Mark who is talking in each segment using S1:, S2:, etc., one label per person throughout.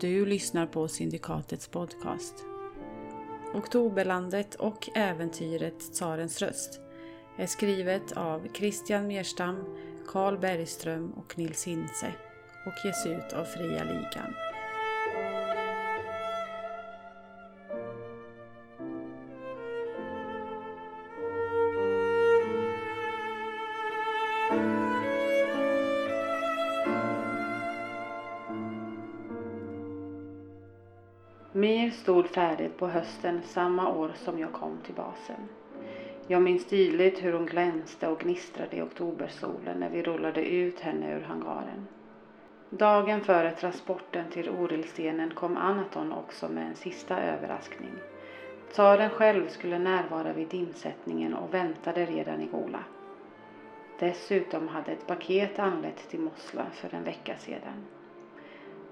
S1: du lyssnar på Syndikatets podcast. Oktoberlandet och äventyret Tsarens röst är skrivet av Christian Merstam, Carl Bergström och Nils Hintze och ges ut av Fria Ligan. Mir stod färdigt på hösten samma år som jag kom till basen. Jag minns tydligt hur hon glänste och gnistrade i oktobersolen när vi rullade ut henne ur hangaren. Dagen före transporten till Orilstenen kom Anaton också med en sista överraskning. Tsaren själv skulle närvara vid dimsättningen och väntade redan i Gola. Dessutom hade ett paket anlänt till Mosla för en vecka sedan.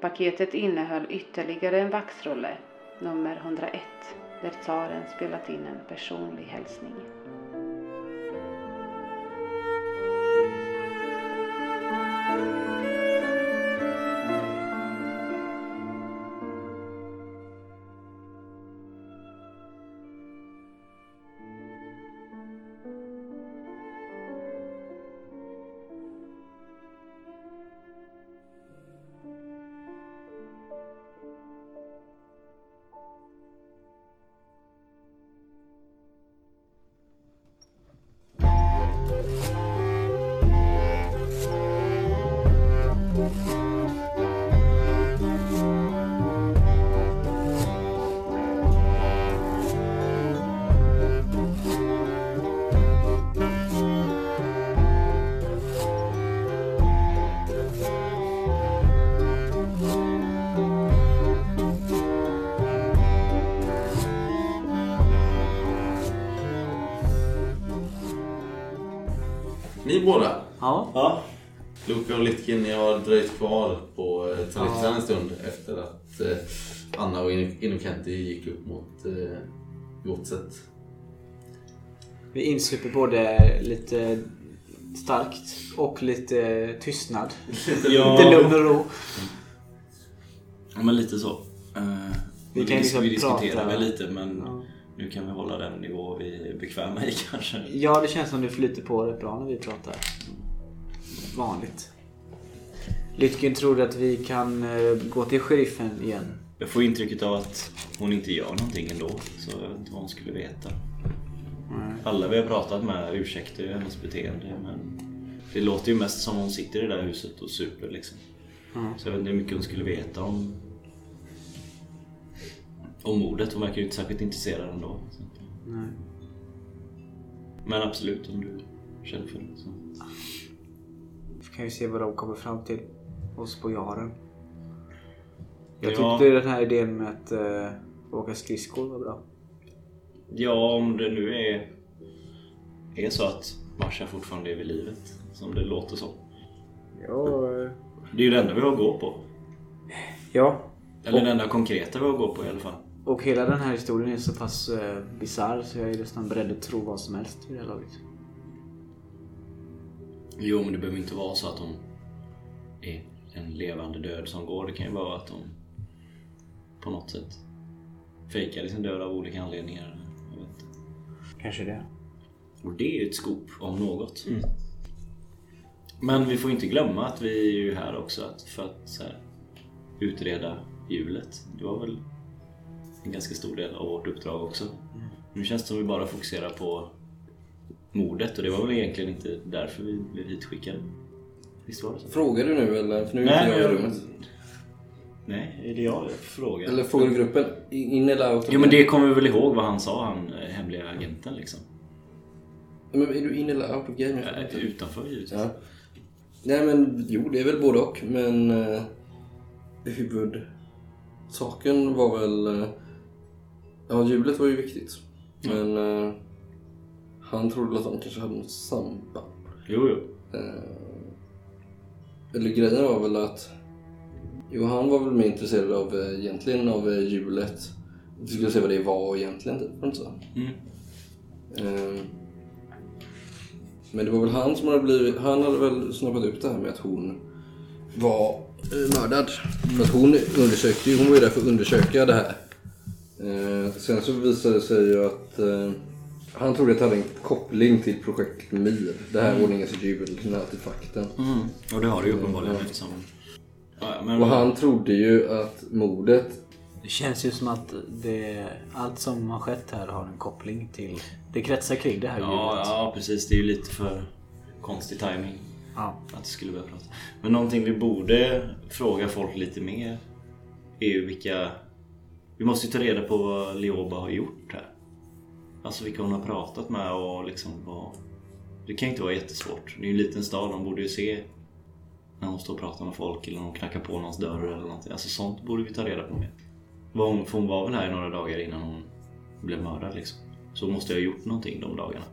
S1: Paketet innehöll ytterligare en vaxrulle, nummer 101, där tsaren spelat in en personlig hälsning.
S2: Ni båda,
S3: Ja.
S4: Ja,
S2: Luka och Litkin, ni har dröjt kvar på eh, toaletten en stund efter att eh, Anna och Inu- Inukenti gick upp mot eh, godset.
S3: Vi insuper både lite starkt och lite tystnad. Lite lugn och ro.
S4: Ja, men lite så. Eh,
S3: Vi
S4: vi,
S3: kan
S4: kan
S3: liksom
S4: vi diskuterar
S3: prata-
S4: väl lite men
S3: Ja.
S4: nu kan vi hålla den nivå vi är bekväma i kanske.
S3: Ja, det känns som du flyter på rätt bra när vi pratar. Vanligt. Lytkin tror att vi kan eh, gå till sheriffen igen.
S4: Jag får intrycket av att hon inte gör någonting ändå så jag vet inte vad hon skulle veta. Alla vi har pratat med ursäktar ju hennes beteende men det låter ju mest som hon sitter i det där huset och super liksom.
S3: Mm.
S4: Så jag vet inte hur mycket hon skulle veta om om mordet. Hon verkar ju inte särskilt intresserad ändå. Så. att-
S3: Nej.
S4: Men absolut om du känner för det. Så.
S3: Vi kan ju se vad de kommer fram till. Oss på jaren. Jag
S4: Ja.
S3: tyckte den här idén med att eh, åka skridskor var bra.
S4: Ja, om det nu är, är så att Marsha fortfarande är vid livet, som det låter som.
S3: Ja. eh,
S4: Det är ju det enda vi har att gå på.
S3: ja.
S4: Eller det enda konkreta vi har att gå på i alla fall.
S3: Och hela den här historien är så pass eh, bisarr så jag är nästan beredd att tro vad som helst vid det här laget.
S4: Jo, men det behöver inte vara så att hon är en levande död som går. Det kan ju bara vara att hon på något sätt fejkade sin död av olika anledningar. Jag vet inte.
S3: Kanske det.
S4: Och det är ju ett skop om något. Men vi får inte glömma att vi är ju här också att, för att så här, utreda hjulet. Det var väl en ganska stor del av vårt uppdrag också. Nu känns det som vi bara fokuserar på mordet och det var väl egentligen inte därför vi blev hitskickade. Visst var det så?
S5: Frågar du nu eller? För nu är
S4: Nej,
S5: inte jag i
S4: men-
S5: rummet.
S4: Nej, är det jag frågar?
S5: Eller frågar du gruppen? In in eller out?
S4: Jo men det kommer vi väl ihåg vad han sa, han eh, hemliga agenten liksom.
S5: Men är du in eller out of game? Jag fattar
S4: Äh,
S5: inte.
S4: Utanför givetvis.
S5: Ja. Nej men jo, det är väl både och. Men eh, huvudsaken var väl... Eh, ja, hjulet var ju viktigt.
S4: Mm.
S5: Men eh, han trodde att han kanske hade något samband.
S4: Jo, jo.
S5: Eller grejen var väl att... Jo, han var väl mer intresserad av eh, egentligen av eh, hjulet. Vi skulle se vad det var egentligen, typ. var det inte så?
S4: Mm.
S5: Eh, Men det var väl han som hade blivit... Han hade väl snappat upp det här med att hon var eh, mördad. För att hon undersökte ju, hon var ju där för att undersöka det här. Eh, sen så visade det sig ju att eh, han trodde att det hade en koppling till projekt MIR. Det här ordningens jubel, den här artefakten.
S4: Mm. Och det har du ju uppenbarligen eftersom... Ja, men
S5: Och han trodde ju att mordet
S3: Det känns ju som att det, allt som har skett här har en koppling till... Det kretsar kring det här
S4: ja,
S3: ljudet.
S4: ja, precis. Det är ju lite för konstig timing
S3: Ja.
S4: att det skulle börja prata. Men någonting vi borde fråga folk lite mer är ju vilka... Vi måste ju ta reda på vad Leoba har gjort här. Alltså vilka hon har pratat med och liksom vad... Det kan ju inte vara jättesvårt. Det är ju en liten stad, de borde ju se när hon står och pratar med folk eller när hon knackar på någons dörr eller någonting. Alltså sånt borde vi ta reda på mer. Vad hon, för hon var väl här i några dagar innan hon blev mördad liksom. Så hon måste ju ha gjort någonting de dagarna.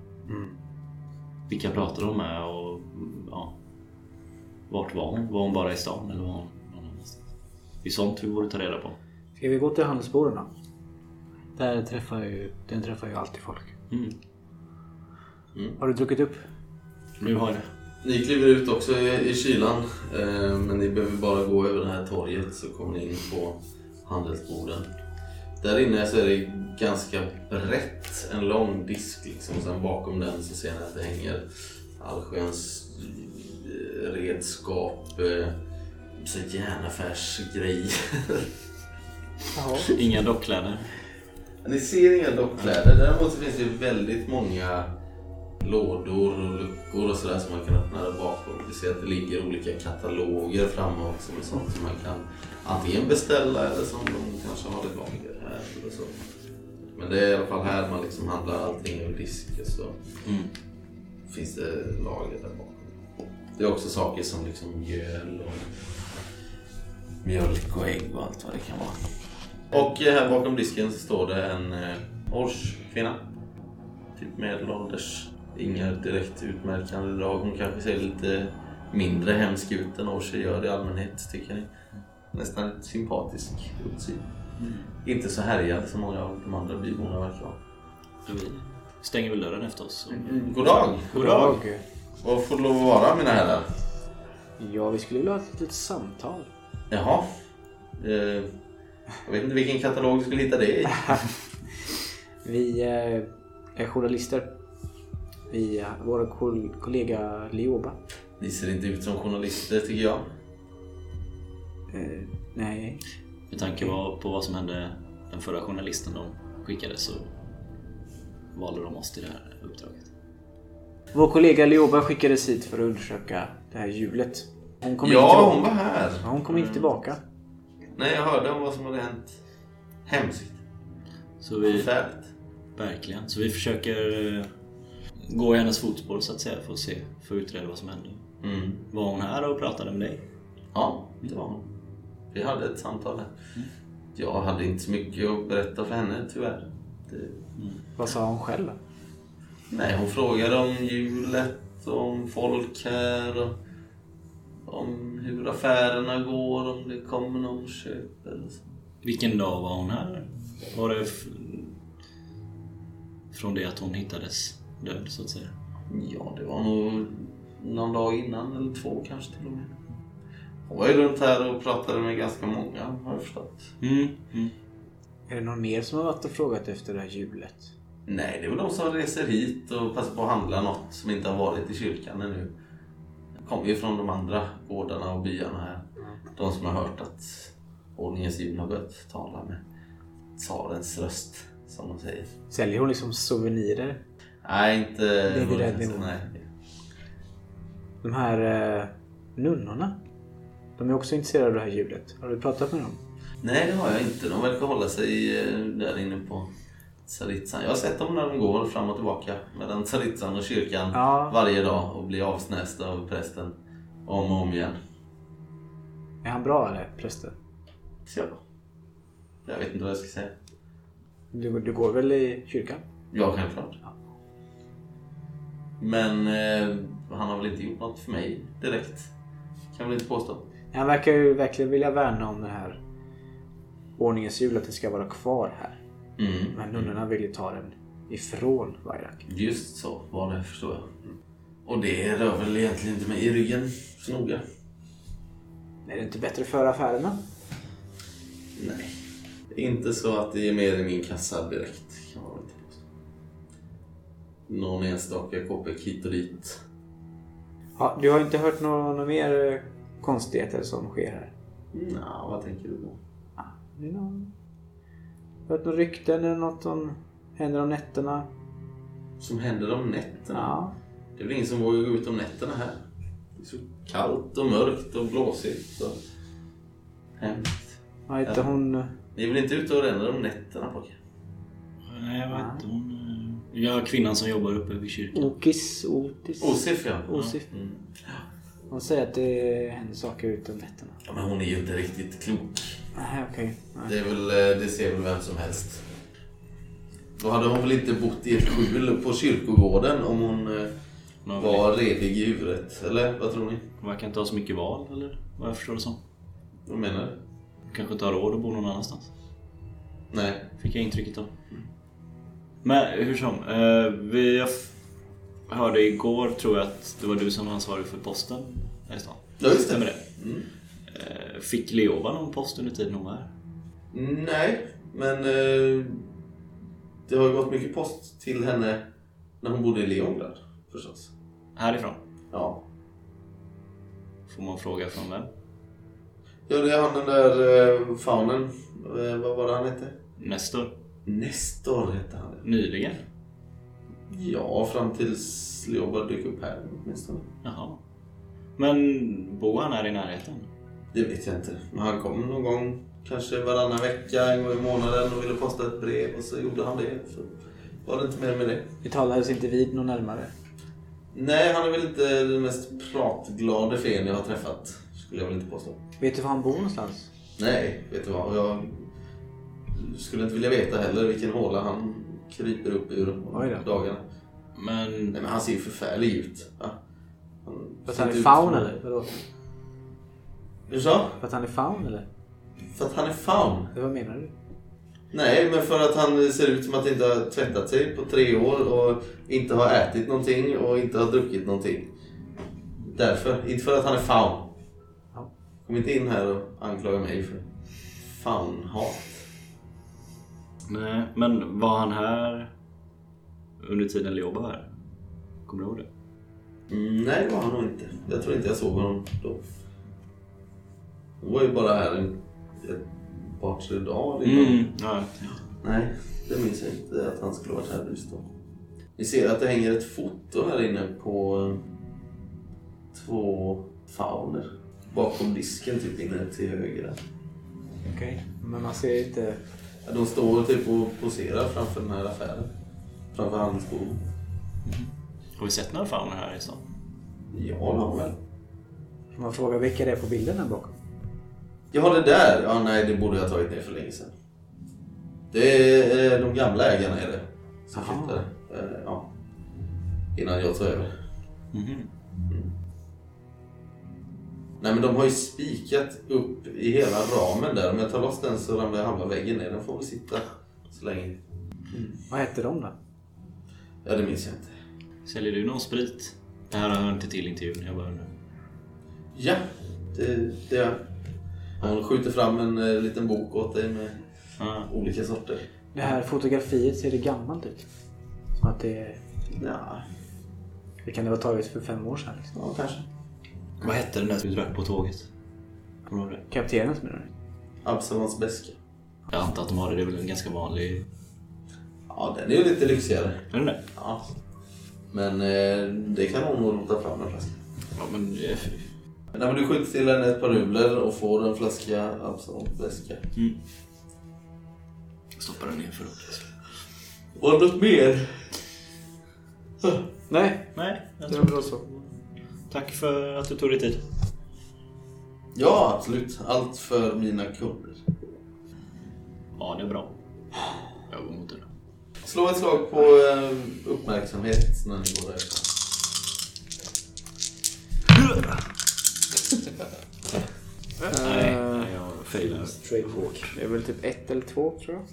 S4: Vilka pratade hon med och ja, vart var hon? Var hon bara i stan eller var hon någon annanstans? Det är sånt vi borde ta reda på.
S3: Ska vi gå till handelsbordarna? Där träffar ju, den träffar ju alltid folk.
S4: Mm.
S3: Har du druckit upp?
S4: Nu har jag det.
S2: Ni kliver ut också i, i kylan. Eh, men ni behöver bara gå över det här torget så kommer ni in på handelsborden. Där inne så är det ganska brett. En lång disk liksom. Och sen bakom den så ser ni att det hänger allsköns eh, redskap. Eh, så järnaffärsgrejer.
S4: Inga dockkläder.
S2: Ni ser inga dockkläder. Däremot så finns det väldigt många lådor och luckor och sådär som man kan öppna där bakom. Vi ser att det ligger olika kataloger framme också med sånt som man kan antingen beställa eller som de kanske har det lager här eller så. Men det är i alla fall här man liksom handlar allting över disk och så
S4: Mm.
S2: finns det lager där bakom. Det är också saker som liksom mjöl och mjölk och ägg och allt vad det kan vara. Och eh, här bakom disken så står det en eh, årskvinna. Typ medelålders. Inga direkt utmärkande drag. Hon kanske ser lite mindre hemsk ut än Orcher gör i allmänhet tycker ni. Nästan lite sympatisk utsyn.
S4: Mm.
S2: Inte så härjad som många av de andra byborna verkar vara.
S4: Så Vi stänger väl dörren efter oss.
S2: God dag!
S4: Mm. God dag.
S2: Vad får det lov att vara mina herrar?
S3: Ja, vi skulle vilja ha ett litet samtal.
S2: Jaha. Eh, jag vet inte vilken katalog du skulle hitta det i.
S3: Vi eh, är journalister. Vi, eh, vår kol- kollega Lioba.
S2: Ni ser inte ut som journalister tycker jag.
S3: Eh, nej.
S4: Med tanke på på vad som hände den förra journalisten de skickade så valde de oss till det här uppdraget.
S3: Vår kollega Lioba skickades hit för att undersöka det här hjulet. Hon kommer inte
S2: ja,
S3: tillbaka.
S2: hon var här.
S3: Ja, hon kommer inte tillbaka.
S2: Nej, jag hörde om vad som hade hänt. Hemskt.
S4: Så vi,
S2: Förfärligt.
S4: verkligen. Så vi försöker eh, gå i hennes fotspår så att säga för att se, för att utreda vad som hände.
S2: Mm.
S4: Var hon här och pratade med dig?
S2: Ja, det var hon. Vi hade ett samtal där. Jag hade inte så mycket att berätta för henne tyvärr. Det...
S3: Vad sa hon själv?
S2: Nej, hon frågade om hjulet, om folk här och om hur affärerna går, om det kommer någon köp eller så.
S4: Vilken dag var hon här? Var det f- från det att hon hittades död så att säga?
S2: Ja, det var nog någon dag innan eller två kanske till och med. Hon var ju runt här och pratade med ganska många har jag förstått.
S4: Mm.
S3: Är det någon mer som har varit och frågat efter det här hjulet?
S2: Nej, det är väl de som reser hit och passar på att handla något som inte har varit i kyrkan ännu. Det kommer ju från de andra gårdarna och byarna här. De som har hört att ordningens jul har börjat tala med tsarens röst, som de säger.
S3: Säljer hon liksom souvenirer?
S2: Nej, inte... Det
S3: är vid den nivån.
S2: Nej.
S3: De här eh, nunnorna? De är också intresserade av det här hjulet. Har du pratat med dem?
S2: Nej, det har jag inte. De verkar hålla sig eh, där inne på Tsaritsan. Jag har sett dem när de går fram och tillbaka mellan Tsaritsan och kyrkan
S3: Ja.
S2: varje dag och blir avsnästa av prästen om och om igen.
S3: Är han bra eller prästen?
S2: Så jag vet inte vad jag ska säga.
S3: Du, du går väl i kyrkan?
S2: Ja, självklart.
S3: Ja.
S2: Men eh, han har väl inte gjort något för mig direkt. Kan jag väl inte påstå.
S3: Han verkar ju verkligen vilja värna om det här ordningens hjul, att det ska vara kvar här.
S2: Mm.
S3: Men nunnorna vill ju ta den ifrån Vairak.
S2: Just så var det, förstår Mm. jag. Och det rör väl egentligen inte mig i ryggen så noga.
S3: Är det inte bättre för affärerna?
S2: Nej. Inte så att det är mer i min kassa direkt. Kan man väl inte påstå. Någon enstaka kopeck hit och dit.
S3: Ja, du har inte hört några några mer eh, konstigheter som sker här?
S2: Nja, vad tänker du på?
S3: Det är någon... Har du hört några rykten eller något som händer om nätterna?
S2: Som händer om nätterna?
S3: Ja.
S2: Det är väl ingen som vågar gå ut om nätterna här. Det är så kallt och mörkt och blåsigt och hemskt.
S3: Har inte
S2: Ja.
S3: hon... eh,
S2: Ni är väl inte ute och ränner om nätterna pojkar?
S4: Nej, jag vet inte. Hon... eh, Ja, kvinnan som jobbar uppe vid kyrkan.
S3: Okis? Otis?
S2: Osif ja.
S3: Osif.
S2: Mm.
S3: Hon säger att det händer saker ute om nätterna.
S2: ja. Men hon är ju inte riktigt klok.
S3: Nej, okej. Nej.
S2: Det, är väl, eh, det ser väl vem som helst. Då hade hon väl inte bott i ett skjul på kyrkogården om hon eh,
S4: Hon har väl-
S2: var redig i huvudet. Eller vad tror ni?
S4: hon verkar inte ha så mycket val, eller vad jag förstår det som.
S2: Vad menar du?
S4: Hon kanske inte har råd att bo någon annanstans.
S2: Nej.
S4: Fick jag intrycket av. Men hur som. Eh, vi, jag f- hörde igår, tror jag, att det var du som var ansvarig för posten här i stan.
S2: Ja, just det.
S4: Stämmer det?
S2: Mm.
S4: Eh, fick Leova någon post under tiden hon var här?
S2: Nej, men eh, det har ju gått mycket post till henne när hon bodde i Leongrad förstås.
S4: Härifrån?
S2: Ja.
S4: Får man fråga från vem?
S2: Ja, det är han den där eh, faunen. Eh, vad var det han hette?
S4: Nestor?
S2: Nestor hette han.
S4: Nyligen?
S2: Ja, fram tills Leobard dök upp här åtminstone.
S4: Jaha. Men bor han här i närheten?
S2: Det vet jag inte. Men han kom någon gång, kanske varannan vecka, en gång i månaden och ville posta ett brev och så gjorde han det. Så var det inte mer med det.
S3: Vi talades inte vid någon närmare.
S2: Nej, han är väl inte den mest pratglade fen jag har träffat. Skulle jag väl inte påstå.
S3: Vet du var han bor någonstans?
S2: Nej, vet du vad? Jag skulle inte vilja veta heller vilken håla han kryper upp ur
S3: Oj då.
S2: på dagarna.
S4: Men
S2: Nej, men han ser ju förfärlig ut. Va? Han
S3: För att
S2: ser
S3: han
S2: inte
S3: är
S2: ut
S3: faun
S2: som-
S3: eller? Vadå?
S2: Du sa?
S3: För att han är faun eller?
S2: För att han är faun?
S3: Eller Vad menar du?
S2: Nej, men för att han ser ut som att inte har tvättat sig på tre år och inte har ätit någonting och inte har druckit någonting. Därför. Inte för att han är faun.
S3: Ja.
S2: Kom inte in här och anklaga mig för faunhat.
S4: Nej, men var han här under tiden Leoba var här? Kommer du ihåg det?
S2: Mm, nej, det var han nog inte. Jag tror inte jag såg honom då. Han var ju bara här en, ett par, tre dagar innan.
S4: Mm. Ja.
S2: Nej, det minns jag inte att han skulle varit här just då. Ni ser att det hänger ett foto här inne på eh, två fauner. Bakom disken typ inne till höger. där.
S3: Okej. Men man ser inte...
S2: Ja, De står typ och poserar framför den här affären. Framför handelsboden.
S4: Har vi sett några fauner här i stan?
S2: Ja, det har de väl.
S3: Får man fråga vilka det är på bilden här bakom?
S2: Jag har det där. Ja, nej, det borde jag ha tagit ner för länge sedan. Det är eh, de gamla ägarna är det. Som
S3: Aha.
S2: flyttade. Eh, Ja. Innan jag tog över.
S4: Mhm.
S2: Nej men de har ju spikat upp i hela ramen där. Om jag tar loss den så ramlar halva väggen ner. Den får väl sitta så länge. Mm.
S3: Vad heter de då?
S2: Ja det minns jag inte.
S4: Säljer du någon sprit? Det här hör inte till intervjun, jag bara undrar.
S2: Ja, det, det gör jag. Han skjuter fram en eh, liten bok åt dig med
S4: Ah.
S2: olika sorter.
S3: Det här fotografiet ser det gammalt ut. Som att det...
S2: Ja,
S3: Det kan det vara taget för fem år sedan. Liksom.
S2: ja kanske.
S4: Vad hette den där som vi drack på tåget? Kommer du ihåg det?
S3: Kaptenens menar du?
S2: Absalons beska.
S4: Jag antar att de har det, det är väl en ganska vanlig...
S2: Ja, den är ju lite lyxigare.
S4: Är den det?
S2: Ja. Men eh, det kan hon nog rota fram en flaska.
S4: Ja, men... eh,
S2: Nej, men du skjuter till henne ett par rubler och får en flaska Absalons beska.
S4: Jag stoppar den ner för att...
S2: Var det något mer?
S3: Nej,
S4: Nej, jag
S3: det
S4: tror...
S3: var bra så.
S4: Tack för att du tog dig tid.
S2: Ja, absolut. Allt för mina kunder.
S4: Ja, det är bra. Jag går mot den.
S2: Slå ett slag på eh, uppmärksamhet när ni går därifrån.
S4: Nej, nej, jag failar.
S3: Straight walk. Det är väl typ ett eller två tror jag.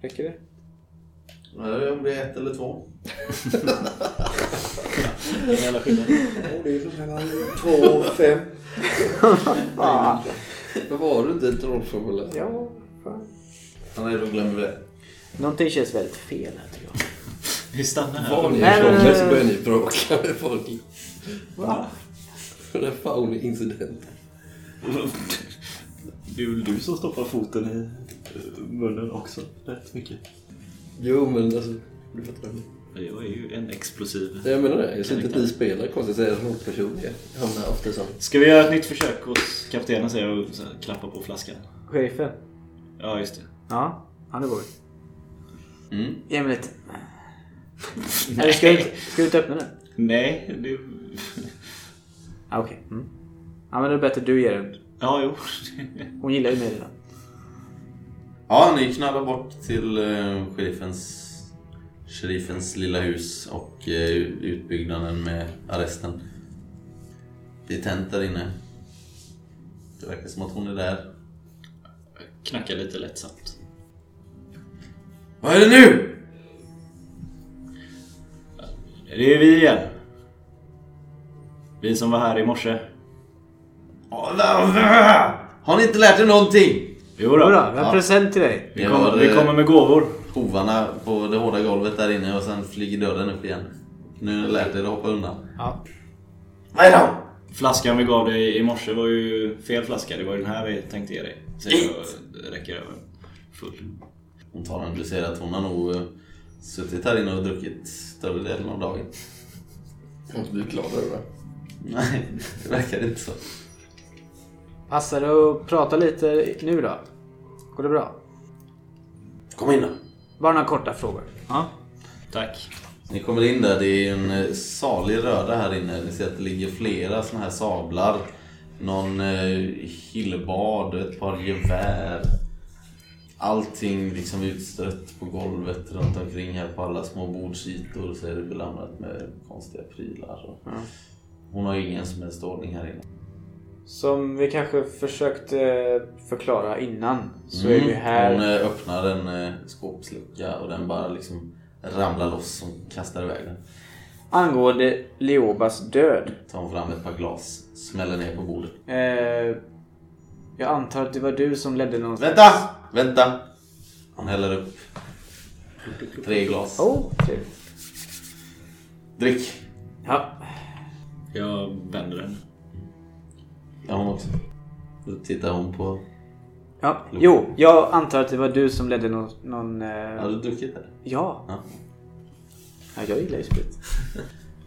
S3: Räcker det?
S2: Nej, om det är ett eller två.
S4: Ingen jävla skillnad.
S5: det är mellan två och fem.
S3: Ah,
S5: Var du inte ett trollformulär?
S3: ja, fan.
S2: Han är då glömmer vi det.
S3: Någonting känns väldigt fel här tycker jag.
S4: Vi stannar här.
S5: Var ni
S3: Nej, nej,
S5: ifrån
S3: nej.
S5: så börjar ni bråka med folk.
S3: Va?
S5: Den här Fowney-incidenten.
S4: Det är väl du som stoppar foten i eh, munnen också rätt mycket.
S5: Jo, men alltså... Du fattar.
S4: Jag är ju en explosiv.
S5: Jag menar det. Jag ser inte att ni spelar konstigt. Jag är rollpersoner. Jag hamnar ofta som...
S4: Ska vi göra ett nytt försök hos kaptenen säger jag och så här klappar på flaskan.
S3: Sheriffen?
S4: Ja, just det.
S3: Ja, ja det går
S2: Mm.
S3: vi. Ge mig lite. Eller ska du, inte- ska du inte öppna den?
S4: Nej, det...
S3: Ah, Okej. Mm. Ja, men det är bättre du ger den.
S4: Ja, jo.
S3: Hon gillar ju mig redan.
S2: Ja, ni knallar bort till eh, sheriffens, sheriffens lilla hus och eh, utbyggnaden med arresten. Det är tänt där inne. Det verkar som att hon är där.
S4: Knackar lite lättsamt.
S2: Vad är det nu?
S4: Det är vi igen. Vi som var här i morse.
S2: Har ni inte lärt er någonting?
S4: Jo då.
S3: Jodå, jag har en present till dig.
S4: Vi,
S2: Det
S4: kommer,
S2: var,
S4: vi
S2: eh,
S4: kommer med gåvor.
S2: Hovarna på det hårda golvet där inne och sen flyger dörren upp igen. Nu har ni lärt er att hoppa undan.
S3: Ja.
S2: Vad är det?
S4: Flaskan vi gav dig i morse var ju fel flaska. Det var ju den här vi tänkte ge dig. Så jag räcker över. Full.
S2: Hon tar en, du ser att hon har nog eh, suttit här inne och druckit större delen av dagen.
S5: Du är glad över det.
S2: Nej, det verkar inte så.
S3: Passar det att prata lite nu då? Går det bra?
S2: Kom in då.
S3: Bara några korta frågor. Ja.
S4: Tack.
S2: Ni kommer in där, det är en eh, salig röda här inne. Ni ser att det ligger flera såna här sablar. Någon eh, hillbad, ett par gevär. Allting liksom utstrött på golvet runt omkring här på alla små bordsytor så är det belamrat med konstiga prylar. Och Hon har ingen som helst ordning här inne.
S3: Som vi kanske försökte förklara innan så är vi
S2: Hon
S3: här.
S2: eh, öppnar en eh, skåpslucka och den bara liksom ramlar loss och kastar iväg den.
S3: Angående Leobas död.
S2: Tar hon fram ett par glas, smäller ner på bordet.
S3: Eh, jag antar att det var du som ledde någon...
S2: Vänta! Vänta! Han häller upp tre glas.
S3: Oh, trevligt.
S2: Drick!
S3: Ja.
S4: Jag vänder den.
S2: Ja, hon också. Då tittar hon på...
S3: ja. Jo, jag antar att det var du som ledde någon... någon
S2: Har
S3: eh,
S2: du druckit det?
S3: ja.
S2: Ja.
S3: ja, jag gillar ju sprit.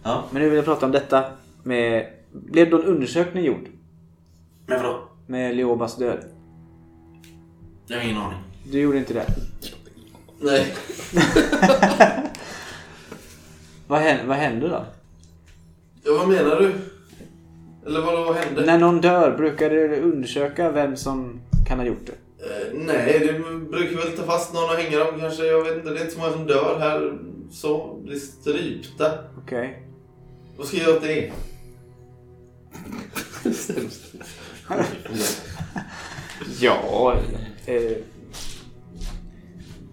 S2: Ja.
S3: Men nu vill jag prata om detta med... Blev någon undersökning gjord?
S2: Men vadå?
S3: Med Leobas död?
S2: Jag har ingen aning.
S3: Du gjorde inte det?
S2: Nej.
S3: Vad hände, vad hände då?
S2: Ja, vad menar du? Eller vad, vad hände?
S3: När någon dör, brukar du undersöka vem som kan ha gjort det?
S2: Eh, nej, du brukar väl ta fast någon och hänga dem kanske. Jag vet inte, det är inte så många som dör här. Så, blir strypta.
S3: Okej.
S2: Vad ska jag göra åt det?
S5: Sämst.
S3: Ja... Eh,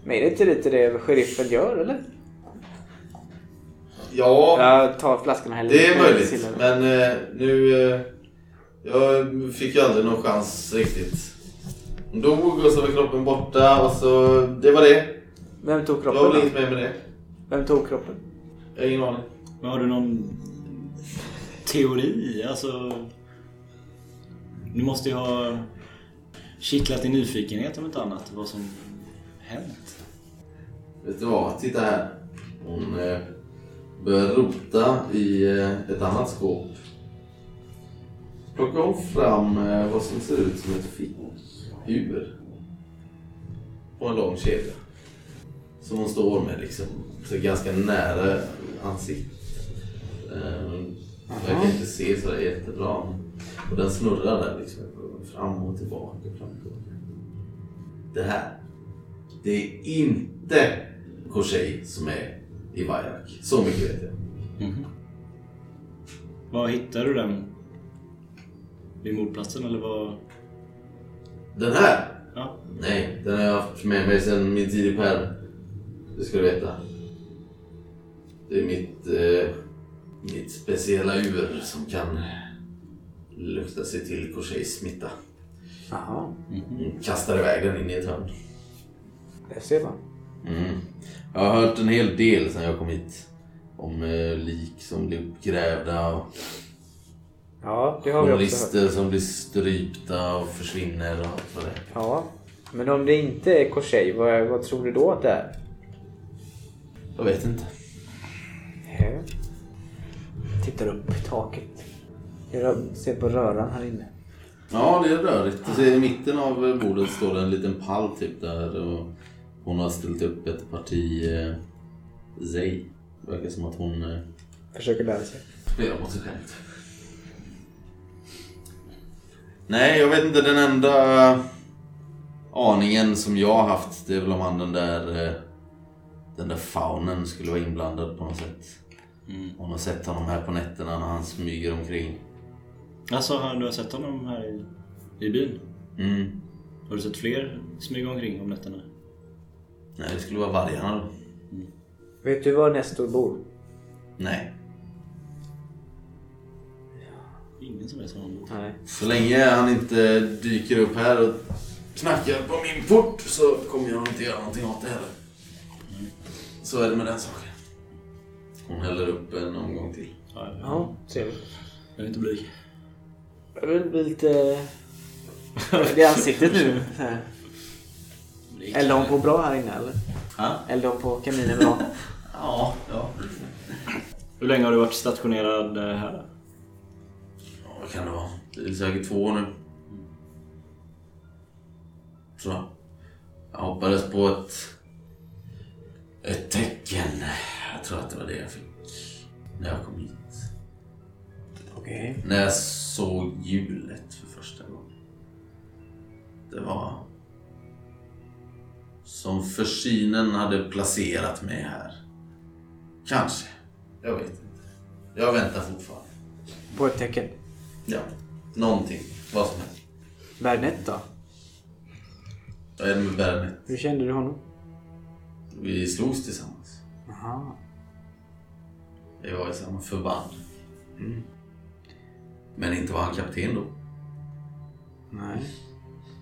S3: men är det inte lite det sheriffen gör, eller?
S2: Ja,
S3: Jag tar flaskan här.
S2: Det är möjligt, men eh, nu... Eh, jag fick ju aldrig någon chans riktigt. Hon dog och så var kroppen borta och så... Det var det.
S3: Vem tog
S2: Jag har väl
S3: kroppen?
S2: inget mer med det.
S3: Vem tog kroppen?
S2: Jag har ingen aning.
S4: Men har du någon teori? Alltså... Du måste ju ha kittlat i nyfikenhet om inte annat vad som hänt.
S2: Vet du vad? Titta här. Hon eh, börjar rota i eh, ett annat skåp. Plockar hon fram eh, vad som ser ut som ett fickur. På en lång kedja. Som hon står med liksom. Så ganska nära ansiktet. Eh, verkar inte se så där jättebra. Och den snurrar där liksom. Fram och tillbaka. Fram och tillbaka. Det här. Det är inte Korsej som är i Vajrak. Så mycket vet jag.
S4: Var hittade du den? Vid mordplatsen eller vad?
S2: Den här?
S4: Ja.
S2: Nej, den har jag haft med mig sedan min tid i Perm. Det ska du veta. Det är mitt, eh, mitt speciella ur som kan lukta sig till Korsejs smitta.
S3: Jaha,
S2: Mm, Kastar iväg den in i ett hörn.
S3: där ser man.
S2: Mm. Jag har hört en hel del sedan jag kom hit. Om eh, lik som blir uppgrävda och
S3: Ja, det har vi också hört.
S2: journalister som blir strypta och försvinner och allt vad det är.
S3: Ja. Men om det inte är Korsej, vad, vad tror du då att det är?
S2: Jag vet inte.
S3: Hö. Tittar upp i taket. Jag rör- ser på röran här inne.
S2: Ja, det är rörigt. Du ser, I mitten av bordet står det en liten pall typ där. Och hon har ställt upp ett parti eh, Zej. Verkar som att hon eh,
S3: Försöker lära sig.
S2: spelar mot sig själv. Nej, jag vet inte. Den enda eh, aningen som jag har haft det är väl om han den där eh, den där faunen skulle vara inblandad på något sätt.
S4: Mm.
S2: Hon har sett honom här på nätterna när han smyger omkring.
S4: Alltså, har du har sett honom här i, i byn?
S2: Mm.
S4: Har du sett fler smyga omkring om nätterna?
S2: Nej, det skulle vara vargarna då.
S3: Vet du var Nestor bor?
S2: Nej.
S4: Ingen som vet var han bor.
S3: Nej.
S2: Så länge han inte dyker upp här och knackar på min port så kommer jag inte göra någonting åt det heller. Så är det med den saken. Hon häller upp en omgång till.
S4: Ja, jag-
S3: Ja, trevligt.
S4: Jag är inte blyg.
S3: Jag vill bli lite... Det är ansiktet nu. så här. Eldar hon på bra här inne eller?
S2: Ja.
S3: Eldar hon på kaminen bra?
S2: Ja, ja.
S4: Hur länge har du varit stationerad eh, här?
S2: Vad kan det vara? Det är säkert två år nu. Tror jag. Jag hoppades på ett... Ett tecken. Jag tror att det var det jag fick när jag kom hit.
S3: Okej.
S2: När jag såg hjulet för första gången. Det var som försynen hade placerat mig här. Kanske. Jag vet inte. Jag väntar fortfarande.
S3: På ett tecken.
S2: Ja, någonting. Vad som helst.
S3: Bernett då?
S2: Vad är det med Bernet?
S3: Hur kände du honom?
S2: Vi slogs tillsammans.
S3: Aha.
S2: Vi var i samma förband. Men inte var han kapten då.
S3: Nej.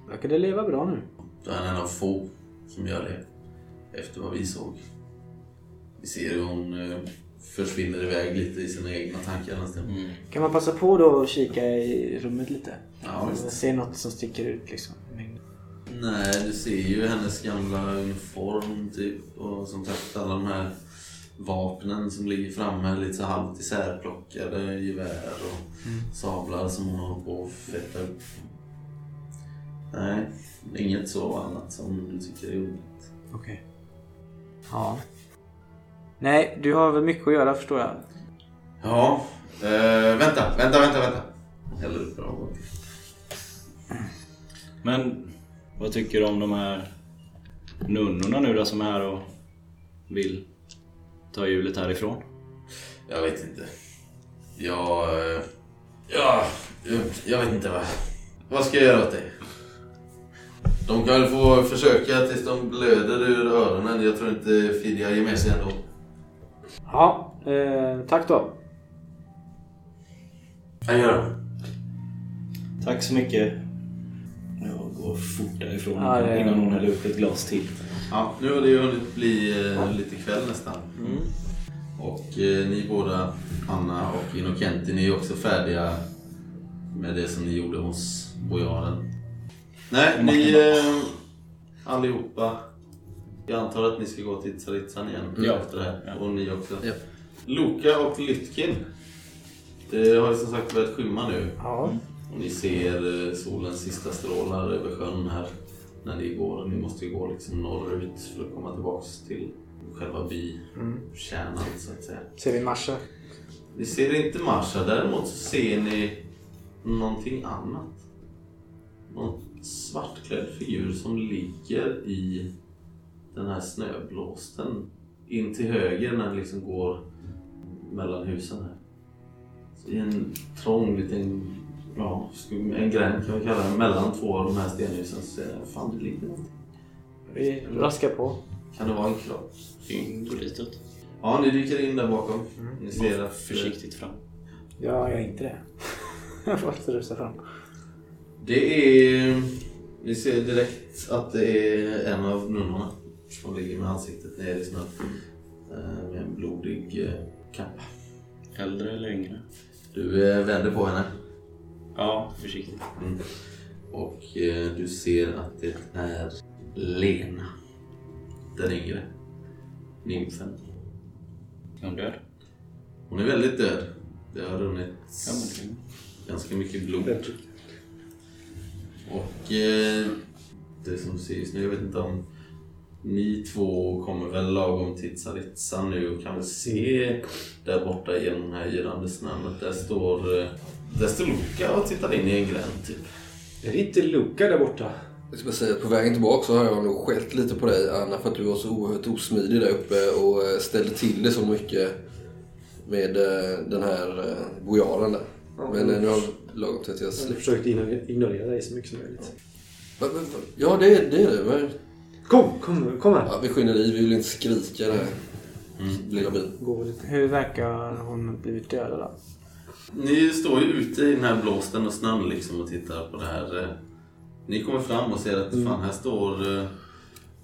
S3: Verkade leva bra nu.
S2: Då är han en av få som gör det. Efter vad vi såg. Vi ser hur hon eh, försvinner iväg lite i sina egna tankar nästan.
S3: Kan man passa på då och kika i rummet lite?
S2: Ja, visst.
S3: Se något som sticker ut liksom. Men-
S2: Nej, du ser ju hennes gamla uniform typ. Och som sagt alla de här vapnen som ligger framme. Lite så halvt isärplockade gevär och sablar som hon håller på att fetta upp. Nej, inget så annat som du tycker är underligt.
S3: Okej. Ja. Nej, du har väl mycket att göra förstår jag.
S2: Ja, eh, vänta, vänta, vänta, vänta. Häller upp bra.
S4: Men vad tycker du om de här nunnorna nu då som är här och vill ta hjulet härifrån?
S2: Jag vet inte. Jag... eh, Ja, eh, jag vet inte vad... Vad ska jag göra åt det? De kan väl få försöka tills de blöder ur öronen. Jag tror inte Fidja ger med sig ändå.
S3: Ja, eh, tack då.
S2: Jag gör det.
S4: Tack så mycket. Jag går fort därifrån
S3: Ja, det-
S4: innan hon häller upp ett glas till.
S2: Ja, nu har det ju hunnit bli eh, lite kväll nästan.
S4: Mm.
S2: Och eh, ni båda, Anna och Innocenti, ni är också färdiga med det som ni gjorde hos bojaren. Nej, ni eh, allihopa. Jag antar att ni ska gå till Tsaritsan igen
S4: Ja.
S2: efter det här.
S4: Ja.
S2: Och ni också.
S5: Ja.
S2: Loka och Lytkin. Det har ju som sagt börjat skymma nu.
S3: Ja.
S2: Och ni ser eh, solens sista strålar över sjön här när ni går. Ni måste ju gå liksom norrut för att komma tillbaks till själva bykärnan så att säga.
S3: Ser vi Marsha?
S2: Ni ser inte Marsha, däremot så ser ni någonting annat. Någon svartklädd figur som ligger i den här snöblåsten in till höger när den liksom går mellan husen här. Så I en trång liten, ja, ska vi- en gränd kan vi kalla det, mellan två av de här stenhusen så ser jag, fan det ligger någonting.
S3: Vi raskar på.
S2: Kan det vara en kropp?
S4: Fynd på ditåt.
S2: Ja, Ja, ni dyker in där bakom. Ni ser att...
S4: Försiktigt fram.
S3: Ja, jag är inte det. jag får faktiskt rusa fram.
S2: Det är... Ni ser direkt att det är en av nunnorna som ligger med ansiktet ner i snön. eh, Med en blodig eh, kappa.
S4: Äldre eller yngre?
S2: Du eh, vänder på henne
S4: Ja, försiktigt.
S2: och eh, du ser att det är Lena. Den yngre. Nymfen.
S4: Är hon död?
S2: Hon är väldigt död. Det har runnit
S4: Ja, men det-
S2: ganska mycket blod. Och eh, det som ser just nu, jag vet inte om ni två kommer väl lagom till Tsaritsa nu och kan väl se där borta genom den här yrande snön att där står, eh, där står Luka och tittar in i en gränd typ.
S6: Är det inte Luca där borta?
S5: Jag ska bara säga att på vägen tillbaka så har jag nog skällt lite på dig Anna för att du var så oerhört osmidig där uppe och eh, ställde till det så mycket med eh, den här eh, bojaren där. Men eh, nu har jag lagom till att jag
S6: Jag
S5: släpper.
S6: försökte igno- ignorera dig så mycket som möjligt.
S5: Va, va, va? Ja, det, är- det är det. Men,
S6: Kom, kom, kom här!
S5: ja, vi skyndar i, vi vill inte skrika den här lilla byn.
S6: Gå lite.
S3: Hur verkar hon ha blivit dödad då?
S2: Ni står ju ute i den här blåsten och snön liksom och tittar på det här. eh. Ni kommer fram och ser att fan här står... eh,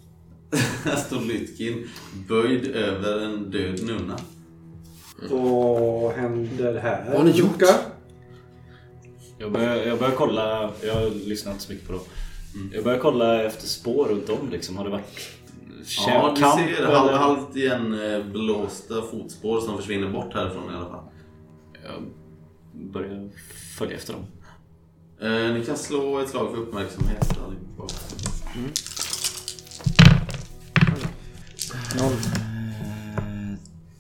S2: här står Lytkin böjd över en död nunna.
S6: Vad händer här?
S5: Vad har ni gjort?
S4: Jag börjar, jag börjar kolla, jag har lyssnat inte så mycket på dem. Jag börjar kolla efter spår runt om liksom. Har det varit
S2: Ja, du
S4: kamp
S2: ser
S4: eller-
S2: halv, halvt igen eh, blåsta fotspår som försvinner bort härifrån i alla fall.
S4: Jag börjar följa efter dem.
S2: Eh, ni kan slå ett slag för uppmärksamhet allihopa.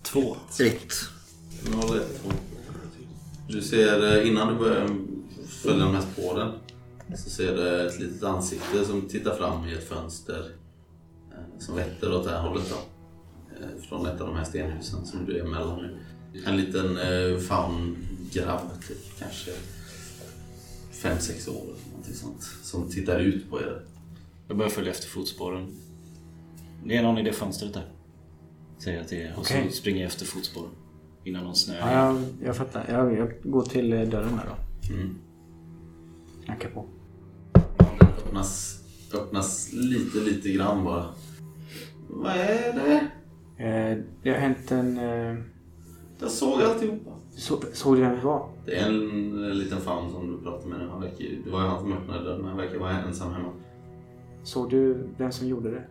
S4: Två.
S5: Ett.
S2: 0, 1, 2. Du ser eh, innan du börjar följa de här spåren så ser du ett litet ansikte som tittar fram i ett fönster eh, som vetter åt det här hållet då. Eh, Från ett av de här stenhusen som du är mellan nu. En liten eh, famngrabb, typ, kanske 5-6 år eller någonting sånt. Som tittar ut på er.
S4: Jag börjar följa efter fotspåren. Det är någon i det fönstret där. Säger jag till er. Och
S3: Okej.
S4: så springer jag efter fotspåren. Innan någon snö.
S3: Ja, jag, jag fattar. Jag, jag går till eh, dörren där då. Knackar på.
S2: Öppnas, öppnas lite, lite grann bara. Vad är det?
S3: Eh, det har hänt en... Eh,
S2: Jag såg alltihopa.
S3: så, såg du vem det var?
S2: Det är en eh, liten fan som du pratade med nu. Han verkar, ju- det var ju han som öppnade dörren. Han verkar vara ensam hemma.
S3: Såg du vem som gjorde det?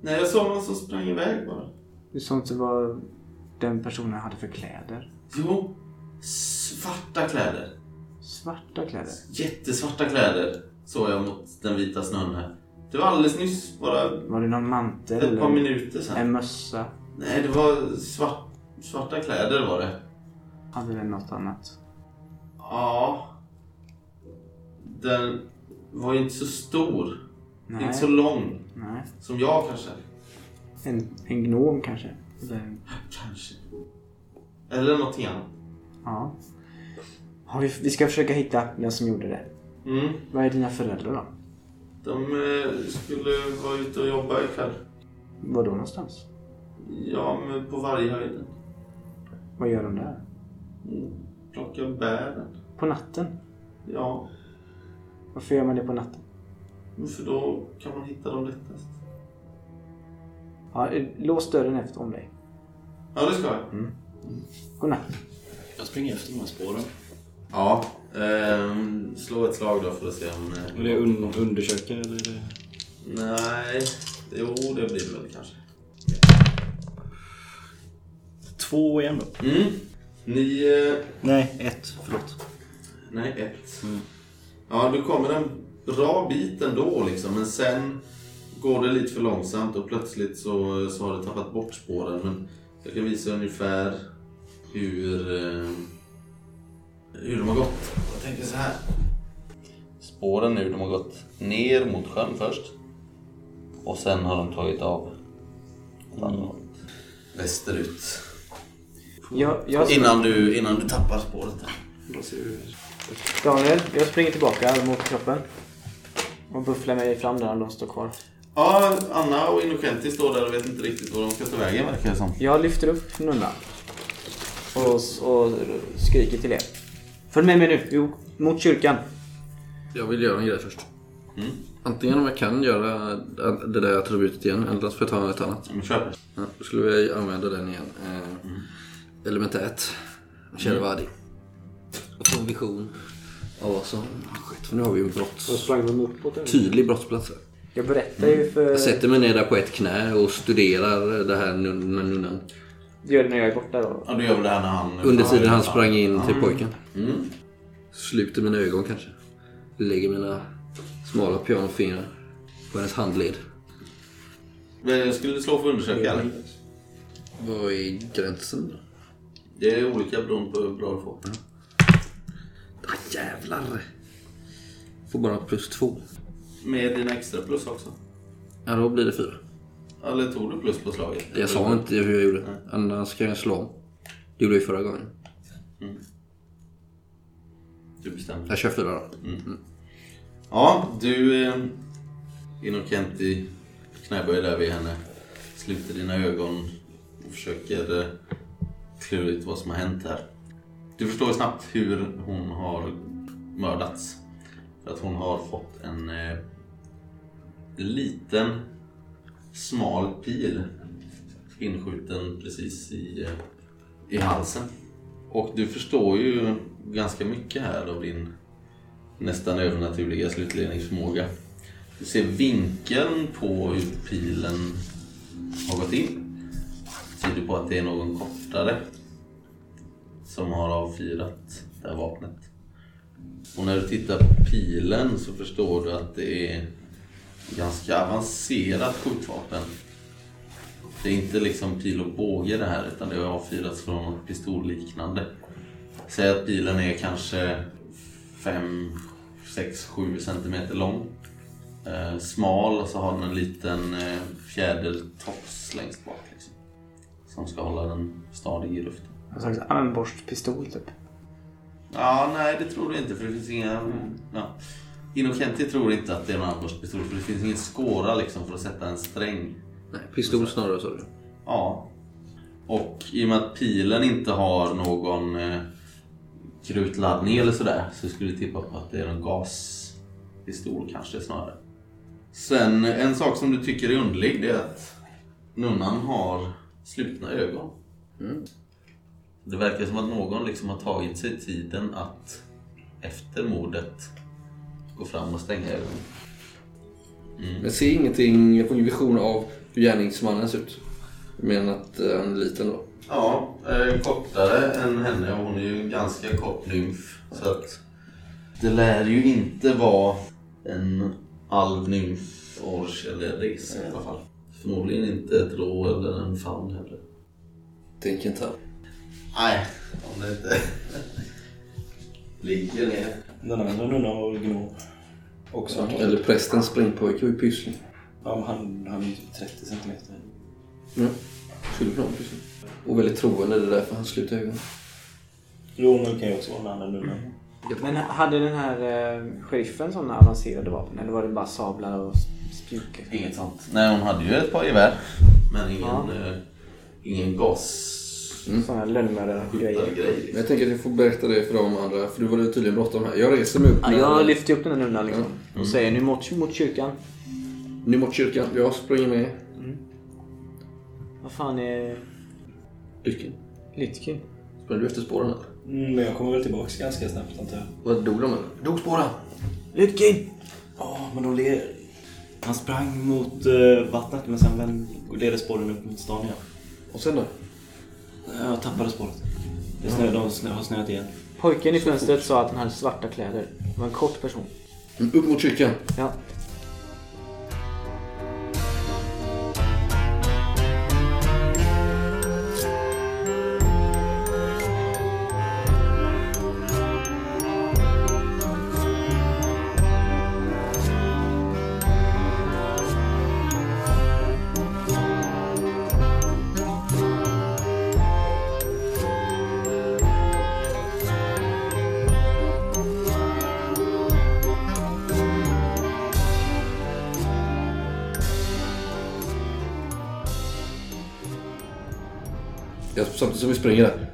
S2: Nej, jag såg någon som sprang iväg bara.
S3: Du såg inte vad den personen hade för kläder?
S2: Jo, svarta kläder.
S3: Svarta kläder?
S2: Jättesvarta kläder såg jag mot den vita snön här. Det var alldeles nyss, bara
S3: Var det någon mantel
S2: ett par
S3: eller
S2: minuter sedan.
S3: en mössa?
S2: Nej, det var svart, svarta kläder var det.
S3: Hade den något annat?
S2: Ja. Den var ju inte så stor.
S3: Nej.
S2: Inte så lång.
S3: Nej.
S2: Som jag kanske.
S3: En, en gnom kanske? Eller en,
S2: Kanske. Eller någonting annat.
S3: ja. Har vi, vi ska försöka hitta vem som gjorde det.
S2: Mm.
S3: Vad är dina föräldrar då?
S2: De eh, skulle vara ute och jobba ikväll.
S3: Var då någonstans?
S2: Ja, men på varje höjden.
S3: Vad gör de där?
S2: Mm. Plocka bären.
S3: På natten?
S2: Ja,
S3: Varför gör man det på natten?
S2: men för då kan man hitta dem lättast.
S3: Ja, eh, lås dörren efter om dig.
S2: Ja, det ska jag.
S3: Godnatt.
S4: Jag springer efter de här spåren.
S2: Ja, ehm, slå ett slag då för att se om... eh,
S4: Är det un undersöka eller? Är det...
S2: Nej, jo det blir det väl kanske.
S4: Två igen då.
S2: Mm. Ni... Eh,
S4: Nej, ett. Förlåt.
S2: nej, ett. Ja, du kommer en bra bit ändå liksom, men sen går det lite för långsamt och plötsligt så, så har du tappat bort spåren. Men jag kan visa ungefär hur, eh, hur de har gått. Jag tänker så här. Spåren nu, de har gått ner mot sjön först. Och sen har de tagit av åt andra hållet. Västerut.
S3: Jag, jag,
S2: Innan du, innan du tappar spåret. Där.
S3: Daniel, jag springer tillbaka mot kroppen. Och bufflar mig fram där om de står kvar.
S2: Ja, Anna och Innocenti står där och vet inte riktigt var de ska ta vägen verkar det som.
S3: Jag lyfter upp nunnan. Och, och skriker till er. Följ med mig nu, jo, mot kyrkan.
S5: Jag vill göra en grej först. Antingen om jag kan göra det där attributet igen eller så får jag ta ett annat.
S2: Ja, Men kör.
S5: Ja, då skulle vi använda den igen. Eh, Element 1. Sherwadi. Mm. Och få en vision av vad som har skett. Eh. För nu har vi ju en
S6: Och
S5: brotts,
S6: sprang de uppåt eller?
S5: tydlig brottsplats här.
S3: Jag berättar ju för...
S5: Jag sätter mig ner där på ett knä och studerar det här nun- med nunnan.
S3: Gör det när jag är borta då.
S2: Ja, du gör väl det här när han...
S5: Under tiden han sprang in till
S2: Mm.
S5: pojken.
S2: Mm.
S5: Sluter mina ögon kanske. Lägger mina smala pianofingrar på hennes handled.
S2: Men Jag skulle slå för undersöka eller?
S5: Vad är gränsen då?
S2: Det är olika beroende på hur bra du får.
S5: Ah, jävlar! Får bara plus två.
S2: Med dina extra plus också.
S5: Ja, då blir det fyra.
S2: Eller tog du plus på slaget?
S5: Jag sa inte hur jag gjorde. Annars kan jag slå om. Det gjorde jag ju förra gången.
S2: Du bestämde.
S5: Jag kör fyra då.
S2: Ja, du... Eh, Innocenti knäböjer där vid henne. Sluter dina ögon och försöker eh, klura ut vad som har hänt här. Du förstår ju snabbt hur hon har mördats. För att hon har fått en eh, liten smal pil inskjuten precis i, eh, i halsen. Och du förstår ju ganska mycket här av din nästan övernaturliga slutledningsförmåga. Du ser vinkeln på hur pilen har gått in. Det tyder på att det är någon kortare som har avfyrat det här vapnet. Och när du tittar på pilen så förstår du att det är ganska avancerat skjutvapen. Det är inte liksom pil och båge det här utan det har avfyrats från något pistolliknande. Säg att pilen är kanske 5, 6, 7 centimeter lång. Eh, smal och så har den en liten eh, fjädertops längst bak. Liksom, som ska hålla den stadig i luften.
S3: Någon slags armborstpistol typ.
S2: Ja, nej det tror du inte för det finns inga... Ja. Innocenti tror inte att det är en armborstpistol för det finns ingen skåra liksom för att sätta en sträng.
S5: Nej, pistol snarare sa du.
S2: Ja. Och i och med att pilen inte har någon eh, krutladdning eller sådär så skulle jag tippa på att det är en gaspistol kanske snarare. Sen en sak som du tycker är underlig det är att nunnan har slutna ögon. Det verkar som att någon liksom har tagit sig tiden att efter mordet gå fram och stänga ögonen.
S5: Jag ser ingenting, jag får ingen vision av hur gärningsmannen ser ut. Men att eh, han är liten då.
S2: Ja, eh, kortare än henne och hon är ju ganska kort nymf. Så att det lär ju inte vara en alv, nymf, ors eller res i alla fall. Förmodligen inte ett rå eller en faun heller.
S5: Tänk inte här.
S2: Nej, om det inte ligger ner.
S4: Den andra nunnan var väl gnom. Också.
S5: Eller prästens springpojke var ju Pyssling.
S4: Ja, men han, han är ju typ 30 centimeter.
S5: Ja, skulle kunna vara Pyssling. Och väldigt troende, det är därför han slutar ögonen.
S4: Jo, men det kan ju också vara den andra nunnan.
S3: Men hade den här eh, sheriffen sådana avancerade vapen? Eller var det bara sablar och spjut?
S2: Inget sånt. Nej, hon hade ju ett par gevär. Men ingen,
S3: Ja.
S2: eh, ingen gas
S3: Sådana lönnmördargrejer.
S2: grej.
S5: Men jag tänker att jag får berätta det för de andra, för du var ju tydligen bråttom här. Jag reser mig upp.
S3: Ja,
S5: när-
S3: jag lyfter upp den här nunnan liksom. Och säger nu mot, mot kyrkan.
S5: Nu mot kyrkan, jag springer med.
S3: Vad fan är
S5: Lycken.
S3: Lytkin?
S5: Sprang du efter spåren eller?
S4: Mm, men jag kommer väl tillbaks ganska snabbt antar jag.
S5: Vad dog de eller? Dog spåren!
S3: Lytkin!
S4: Ja, men de led... Han sprang mot eh, vattnet men sen vänd- ledde spåren upp mot stan igen.
S5: Och sen då?
S4: Eh, Jag tappade spåret. Det snö, de snö, har snöat igen.
S3: Pojken i fönstret sa att han hade svarta kläder. Han var en kort person.
S5: Mm, Upp mot kyrkan.
S3: Ja.
S5: samtidigt som vi springer där.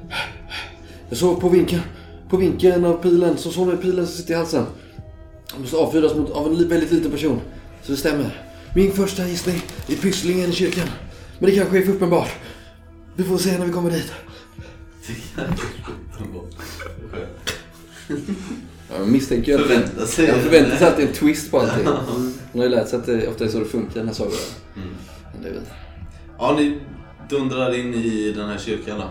S5: Jag såg på vinkeln, på vinkeln av pilen, så såg jag pilen som sitter i halsen. Den måste avfyras mot, av en li- väldigt liten person. Så det stämmer. Min första gissning är Pysslingen i kyrkan. Men det kanske är för uppenbart. Vi får se när vi kommer dit. Jag misstänker ju att det,
S2: Förvänta sig.
S5: jag förväntar sig att det är en twist på allting. Man har ju lärt sig att det ofta är så det funkar i den här sagan.
S2: Mm.
S5: Men det är väl...
S2: Ja, ni dundrar in i den här kyrkan då.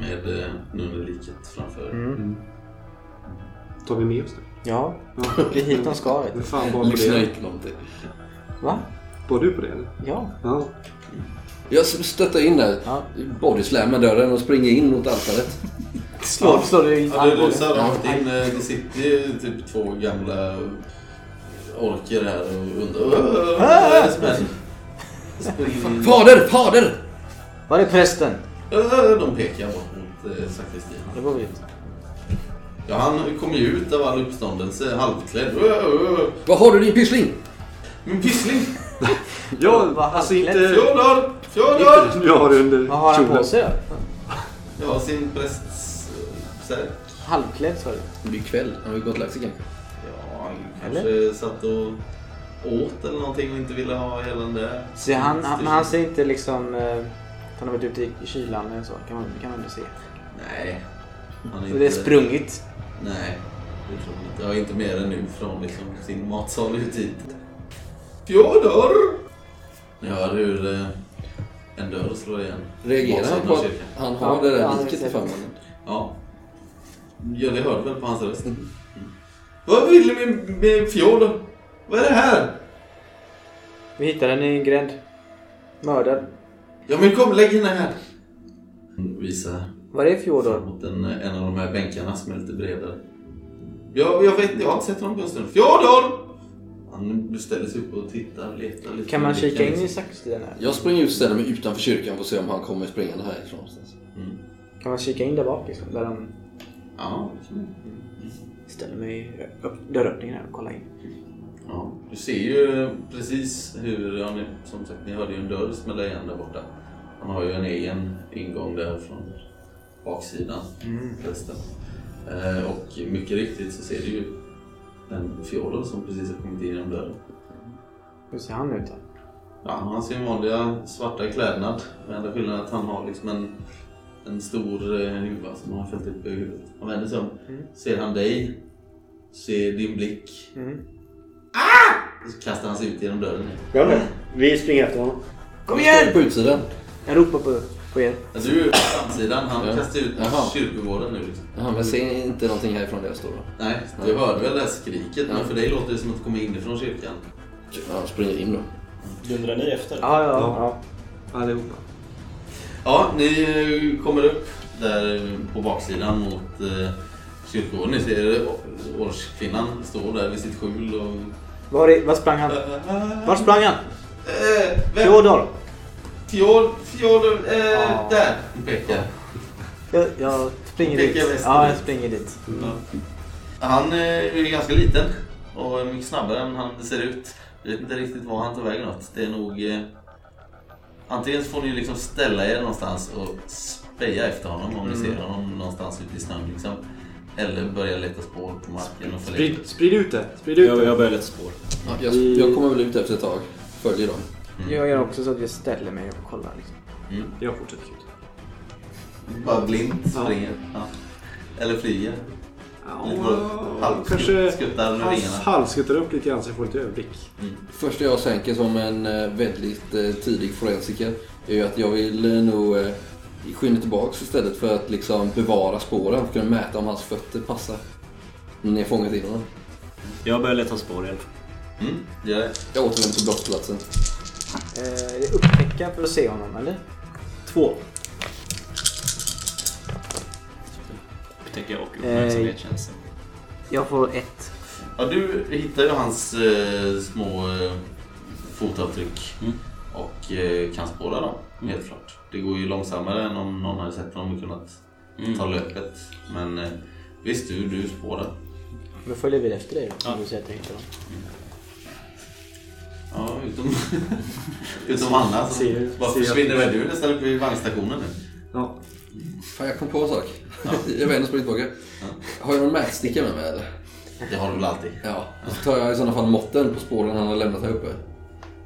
S2: Med eh, nunneliket framför er.
S6: Tar vi med oss det?
S3: Ja, det är hit de ska. vet
S6: Men
S3: du.
S6: fan, var, på
S5: Lyssna
S6: det.
S5: inte någonting.
S3: Va?
S6: var du på det eller?
S3: Ja.
S6: Ja.
S5: Jag stöttar in där.
S3: Ja.
S5: Body slammar dörren och springer in mot altaret.
S3: Slår, slår du i
S2: Ja, du
S3: armbågen?
S2: rusar rakt in. eh, Det sitter ju typ två gamla orker här och undrar... Äh, vad är det som händer? Springer in.
S5: Fader! Fader!
S3: Var är prästen?
S2: Äh, De pekar bort mot eh, sakristian.
S3: Då går vi ut.
S2: Ja, han kommer ju ut av all uppståndelse halvklädd. Äh, äh,
S5: Vad har du din pyssling?
S2: Min pyssling!
S6: Ja,
S3: Vad
S6: alltså
S3: halvklädd.
S6: inte...
S2: Fjodor! Fjodor!
S6: Inte du har under
S3: Vad har han på sig då?
S2: Ja, sin prästs... eh, särk.
S3: Halvklädd sa du?
S5: Det är kväll. Han har ju gått och lagt sig kanske.
S2: Ja, han kanske satt och åt eller någonting och inte ville ha hela den där.
S3: Så han, han, men han ser inte liksom... eh, att Han har varit ute i i kylan eller så. Kan man, kan man ändå se.
S2: Nej. Han
S3: Och det är sprungit.
S2: Nej, det tror jag inte. Jag är inte med än nu från liksom sin matsal ut hit. Fjodor! Ni hör hur eh, en dörr slår igen.
S5: Reagerar han
S2: Matsalen
S5: på
S2: av
S5: att
S2: kyrkan.
S5: han
S3: Ja,
S5: har det
S3: ja,
S5: där
S3: han
S5: liket i
S3: ser det.
S5: famnen?
S2: Ja. Ja, det hörde väl på hans röst. Mm. Vad vill ni med, med Fjodor? Vad är det här?
S3: Vi hittade den i en gränd. Mördad.
S2: Ja men kom, lägg henne här! Hon Visar
S3: Var är Fjodor?
S2: mot en, en av de här bänkarna som är lite bredare. Jag, jag vet inte, jag har inte sett honom på en stund. Fjodor! Han ställer sig upp och tittar, letar lite.
S3: Kan man
S2: med blicken
S3: kika in
S2: liksom.
S3: i sakristian här?
S5: Jag springer ut och ställer mig utanför kyrkan för att se om han kommer springande härifrån. någonstans.
S3: Kan man kika in där bak liksom? Där de
S2: Mm. Ja,
S3: ställer mig i upp- dörröppningen här och kollar in.
S2: ja. Du ser ju precis hur, ja, ni, som sagt ni hörde ju en dörr smälla igen där borta. Han har ju en egen ingång där från baksidan. Resten. Eh, och mycket riktigt så ser du ju den fjodor som precis har kommit in genom dörren.
S3: Hur ser han ut då?
S2: Ja, han har sin vanliga svarta klädnad. Men enda skillnaden är att han har liksom en, en stor eh, huva som han har fällt upp över huvudet. Han vänder sig om.
S5: Mm.
S2: Ser han dig, ser din blick.
S3: Mm.
S2: Ah! Så kastar han sig ut genom dörren.
S6: Ja, men. Vi springer efter honom.
S3: Kom
S5: Jag står
S3: igen!
S5: på utsidan.
S3: Jag ropar på, på er.
S2: Ja, du är ju på framsidan. Han kastar ut
S5: Jaha.
S2: kyrkogården nu. Liksom.
S5: Jaha, men ser inte någonting härifrån där jag står då?
S2: Nej, du hörde väl det här skriket. Men
S5: Ja.
S2: för dig låter det som att komma inifrån kyrkan.
S5: Ja, Han springer in då.
S4: Dundrar ni efter?
S3: Ja, ja,
S6: Ja.
S3: ja.
S6: Allihopa.
S2: Ja, ni eh, kommer upp där på baksidan mot eh, kyrkogården. Ni ser eh, årskvinnan står där vid sitt skjul och
S3: Var, är, var sprang han? Var sprang han?
S2: Eh, vem?
S3: Fjodor!
S2: Fjol, fjol, eh,
S3: Ja.
S2: där. Hon pekar.
S3: Jag, jag springer
S2: Pekar
S3: dit.
S2: västerut.
S3: Ja, jag springer dit.
S2: Han eh, är ganska liten och är mycket snabbare än han ser ut. Jag vet inte riktigt var han tar vägen åt. Det är nog... Eh, antingen så får ni liksom ställa er någonstans och speja efter honom om ni ser honom någonstans ute i snön liksom. Eller börja leta spår på marken och följa efter.
S6: Sprid, sprid ut det. Sprid ut
S4: Jag,
S6: det.
S4: jag börjar leta spår.
S5: Ja, jag, jag kommer väl ut efter ett tag. Följer dem.
S3: Jag gör också så att jag ställer mig och kollar. Liksom.
S6: Jag fortsätter skjuta.
S2: Bara blint springer. Ja. Eller flyger. Lite bara halvskutt-
S6: Kanske
S2: skuttar med
S6: hals-
S2: vingarna.
S6: halvskuttar upp lite grann så jag får lite överblick.
S5: Första jag sänker som en eh, väldigt eh, tidig forensiker är ju att jag vill eh, nog eh, skynda tillbaks istället för att liksom bevara spåren för att kunna mäta om hans fötter passar. När jag fångat in honom.
S4: Jag börjar leta spår igen.
S2: Mm, gör det.
S5: Jag återvänder till brottsplatsen.
S3: Eh, är det upptäcka för att se honom, eller?
S4: Två. Upptäcker jag och uppmärksamhetstjänsten.
S3: Eh, Jag får ett.
S2: Ja, du hittar ju hans eh, små eh, fotavtryck
S4: Mm.
S2: och eh, kan spåra dem, helt klart. Det går ju långsammare än om någon hade sett dem och kunnat ta löpet. Men eh, visst, du, du spårar.
S3: Då följer vi efter dig då. Om du säger att jag hittar honom.
S2: Ja, utom, utom Anna som
S6: Ser-
S2: bara
S6: ser-
S2: försvinner väl du nästan uppe i vagnstationen nu.
S6: Ja.
S5: Fan, jag kom på en sak. jag var ändå sprungit tillbaka. Har jag någon mätsticka med mig eller?
S2: Det har du väl alltid?
S5: Ja. Och så tar jag i sådana fall måtten på spåren han har lämnat här uppe.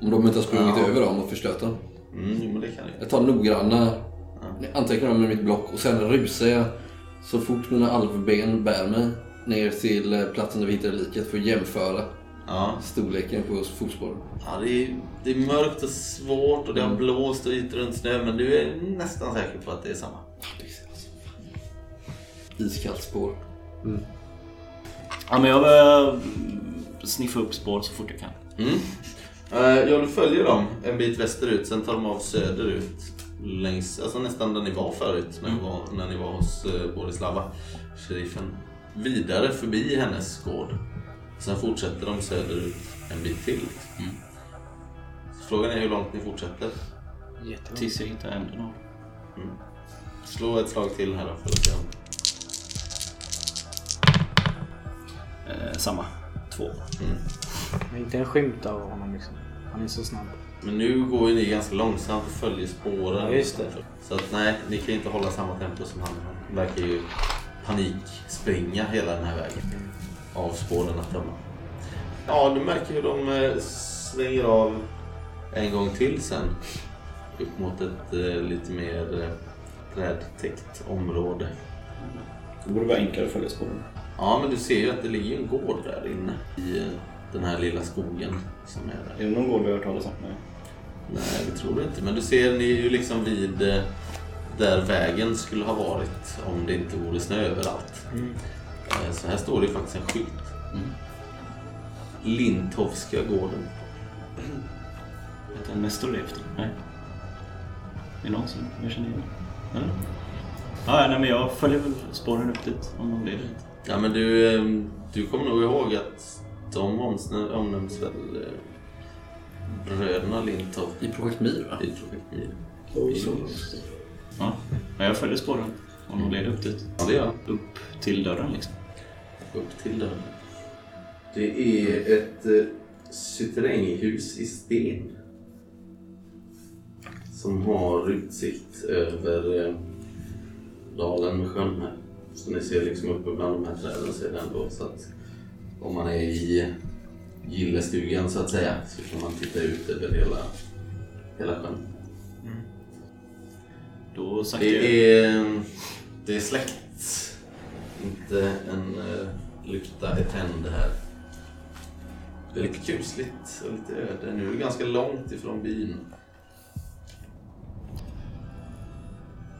S5: Om de inte har sprungit
S2: Ja.
S5: över dem och förstört dem.
S2: Mm, jo, men det kan du.
S5: Jag tar noggranna anteckningar med mitt block och sen rusar jag så fort mina alvben bär mig ner till eh, platsen där vi hittade liket för att jämföra
S2: Ja.
S5: storleken på fotspåren.
S2: Ja, det, är, det är mörkt och svårt och det har blåst och ytor runt snö men du är nästan säker på att det är samma.
S5: Iskallt spår.
S4: Ja, men jag börjar sniffa upp spår så fort jag kan.
S2: Mm. Eh, Ja, du följer dem en bit västerut, sen tar de av söderut. Längs, alltså nästan där ni var förut, när, ni, var, när ni var hos eh, Borislava, sheriffen. Vidare förbi hennes gård. Sen fortsätter de söderut en bit till. Så Frågan är hur långt ni fortsätter.
S3: Jättelångt.
S4: Tills jag hittar änden av dem.
S2: Slå ett slag till här då för att se om...
S4: eh, Samma. Två.
S2: Mm.
S3: Men Inte en skymt av honom liksom. Han är så snabb.
S2: Men nu går ju ni ganska långsamt och följer spåren.
S3: Ja, just det.
S2: Så att nej, ni kan ju inte hålla samma tempo som han. Han verkar ju panikspringa hela den här vägen. Av spåren att döma. Ja, du märker hur de eh, svänger av en gång till sen. Upp mot ett eh, lite mer eh, trädtäckt område.
S4: Det borde vara enklare att följa spåren.
S2: Ja, men du ser ju att det ligger en gård där inne i eh, den här lilla skogen som är där.
S4: Är det någon gård vi har hört talas om? Nej.
S2: Nej, det tror jag inte. Men du ser, ni är ju liksom vid eh, där vägen skulle ha varit om det inte vore snö överallt. Eh, Så här står det ju faktiskt en skylt. Lindhovska gården.
S4: Vet jag Nestor det efter? Nej. Är det någon som jag känner igen? Eller? Ja, nej, men jag följer väl spåren upp dit om de leder dit.
S2: Ja, men du, eh, du kommer nog ihåg att de omsnö- omnämns väl eh, bröderna Lindhoff
S5: I projekt Mir va?
S2: i projekt Mir.
S4: Ja, men jag följer spåren om de leder upp dit.
S2: Ja, det gör jag.
S4: Upp till dörren liksom.
S2: Upp till dörren. Det är ett eh, suteränghus i sten. Som har utsikt över eh, dalen med sjön här. Så ni ser liksom uppe bland de här träden så är det ändå så att om man är i gillestugan så att säga så kan man titta ut över hela, hela sjön.
S4: Då saktar jag...
S2: Det är, ehm, det är släkt. Inte en uh, lykta är tänd här. Det är lite kusligt och lite öde. Nu är det ganska långt ifrån byn.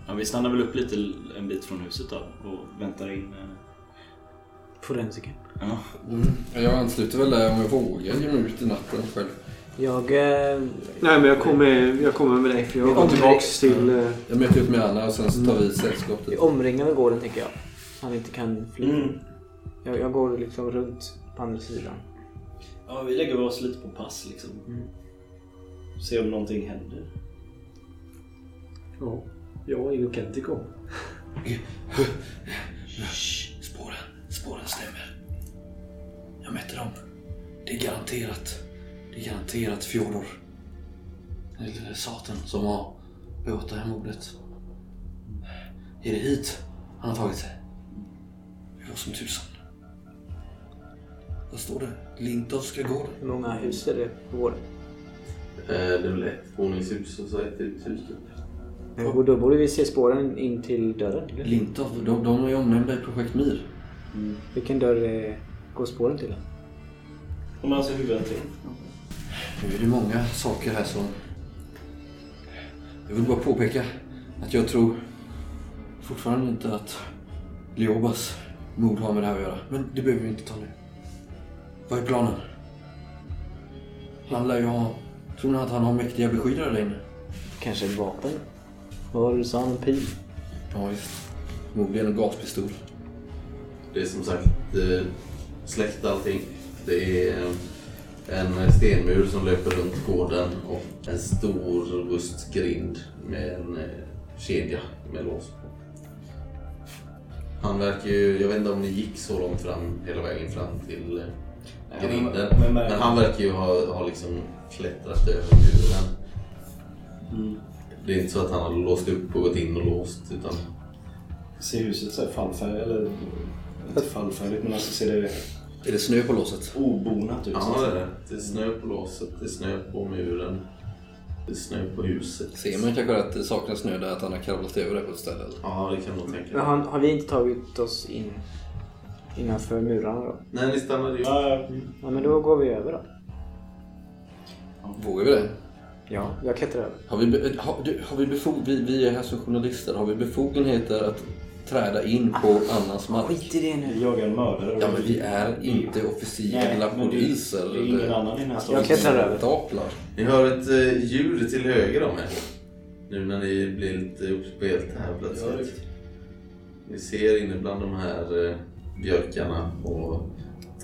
S4: Ja, vi stannar väl upp lite en bit från huset då och väntar in... eh,
S3: Forensiker.
S4: Ja.
S5: Mm. Jag ansluter väl där om jag vågar ge mig ut i natten själv.
S3: Jag... Eh,
S6: Nej, men jag kommer, jag kommer med dig för jag
S3: Vi
S6: går
S3: kommer-
S6: tillbaks till... eh,
S5: Jag möter upp med Anna och sen så tar vi sällskap
S3: vi
S5: dit.
S3: omringar med gården tänker jag. Så han inte kan fly.
S4: Mm.
S3: Jag, jag går liksom runt på andra sidan.
S4: ja, vi lägger oss lite på pass liksom. Se om någonting händer.
S6: Ja, jag är ju Kentico.
S5: Shh, spåren, spåren stämmer. Jag mätte dem. Det är garanterat. Det är garanterat Fjodor. Den lille saten som har begått det här mordet. Är det hit han har tagit sig? Det var som tusan. Vad står det? Lindovska gården.
S3: Hur många hus är det på gården?
S2: Eh, det är väl ett våningshus och så ett uthus. typ.
S3: Och Då borde vi se spåren in till dörren. eller?
S5: Lindov, de, de är ju omnämnda i Projekt Mir.
S3: Vilken dörr eh, går spåren till?
S4: Om man ser huvudet till.
S5: Nu är det många saker här som... Jag vill bara påpeka att jag tror fortfarande inte att Leobas mord har med det här att göra. Men det behöver vi inte ta nu. Vad är planen? Han lär ju ha... Tror ni att han har mäktiga beskyddare där inne?
S3: Kanske ett vapen? Vad var det du sa? En pil?
S5: Ja, visst. Förmodligen en gaspistol.
S2: Det är som sagt eh, släkt allting. Det är eh, en stenmur som löper runt gården och en stor robust grind med en eh, kedja med lås på. Han verkar ju, jag vet inte om ni gick så långt fram hela vägen fram till eh,
S4: men-
S2: grinden.
S4: men-
S2: Men han verkar ju ha, ha liksom klättrat över
S4: Mm.
S2: muren. Det är inte så att han har låst upp och gått in och låst utan
S7: Ser huset så här fallfärdigt, eller inte fallfärdigt, men alltså ser det
S5: Är det snö på låset?
S7: obonat ut? Alltså,
S2: Ja, det är det. Det är snö på låset, det är snö på muren, det är snö på huset.
S5: Ser man kanske att det saknas snö där, att han har kravlat över det på ett ställe? Eller?
S2: Ja, det kan man tänka.
S3: Men har, har vi inte tagit oss in innanför murarna då?
S2: Nej, ni stannade ju.
S7: Ja,
S3: Ja, men då går vi över då.
S5: Vågar vi det?
S3: Ja, jag klättrar över.
S5: Har vi, be- har, du, har vi, befog, vi, vi är här som journalister. Har vi befogenheter att träda in på annans mark?
S3: Skit i det nu.
S7: vi jagar en mördare.
S5: Ja, men vi är inte
S7: Nej,
S5: officiella
S7: men det-
S5: poliser.
S7: Det är ingen
S5: eller
S7: annan i den här staden.
S3: Jag kan klättrar över.
S5: Staplar.
S2: Ni hör ett eh, ljud till höger om er. Nu när ni blir lite uppspelt här plötsligt. Ni ser inne bland de här eh, björkarna och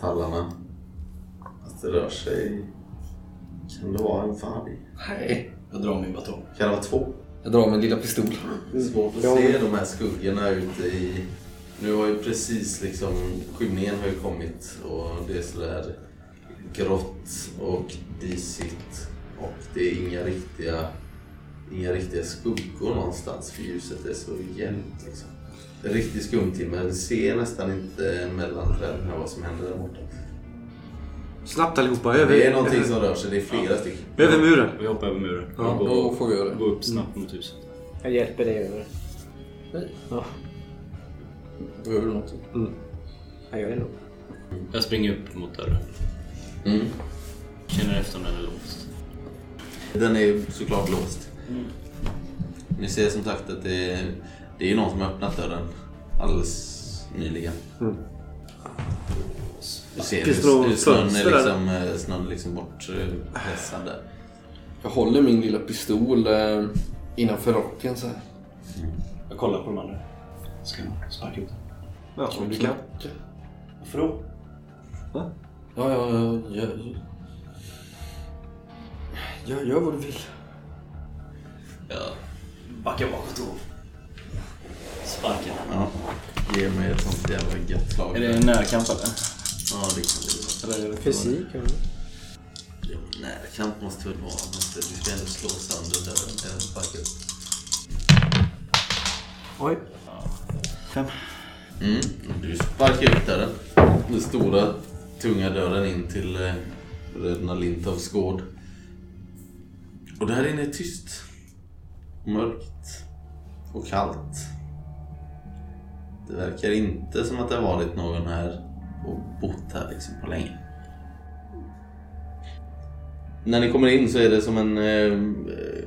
S2: tallarna att det rör sig. Kan det vara en varg?
S5: Nej.
S7: Jag drar min batong.
S2: Kan det vara två?
S5: Jag drar min lilla pistol.
S2: Det är svårt att se de här skuggorna ute i... Nu har ju precis liksom skymningen har ju kommit och det är sådär grått och disigt och det är inga riktiga, inga riktiga skuggor någonstans för ljuset är så jämnt liksom. Det är riktigt skumtimme. Du ser nästan inte mellan träden här vad som händer där borta.
S6: Snabbt allihopa, över,
S2: Det är någonting som rör sig. Det är flera stycken.
S6: över muren.
S4: Vi hoppar över muren.
S6: Ja,
S4: och
S5: Då
S4: går,
S5: får vi göra det.
S4: går upp snabbt mot huset.
S3: Jag hjälper dig över.
S5: Nej.
S3: Ja,
S5: Behöver du något?
S3: jag gör det nog.
S4: Jag springer upp mot dörren.
S2: Mm.
S4: Känner efter om den är låst.
S2: Den är ju såklart låst. Ni ser som sagt att det är, det är ju någon som har öppnat dörren alldeles nyligen.
S6: Mm.
S2: Du ser
S6: Finns
S2: hur,
S6: det
S2: hur
S6: något
S2: snön, är
S6: fönster där?
S2: liksom, eh, snön är liksom bortpressad där.
S5: Jag håller min lilla pistol eh, innanför rocken så här.
S7: Jag kollar på de andra. Ska jag sparka ut den?
S6: Ja, om du kan.
S7: Varför då?
S5: Ja, ja, ja. Gör, gör, gör vad du vill.
S2: Ja.
S7: Backa bakåt och sparka.
S2: ja. Ge mig ett sånt jävla gött slag.
S4: Är det en närkamp eller?
S2: Ja, det kan det vara.
S4: eller? är det-
S3: Fysik?
S2: Jo, närkamp måste väl vara. Måste, du ska ändå slå sönder dörren. Eller sparka upp.
S3: Oj.
S2: Mm. Du sparkar upp dörren. Den stora, tunga dörren in till eh, Rödna Lintovs gård. Och där inne är tyst. Och mörkt. Och kallt. Det verkar inte som att det har varit någon här och bott här liksom på länge. När ni kommer in så är det som en... eh, eh,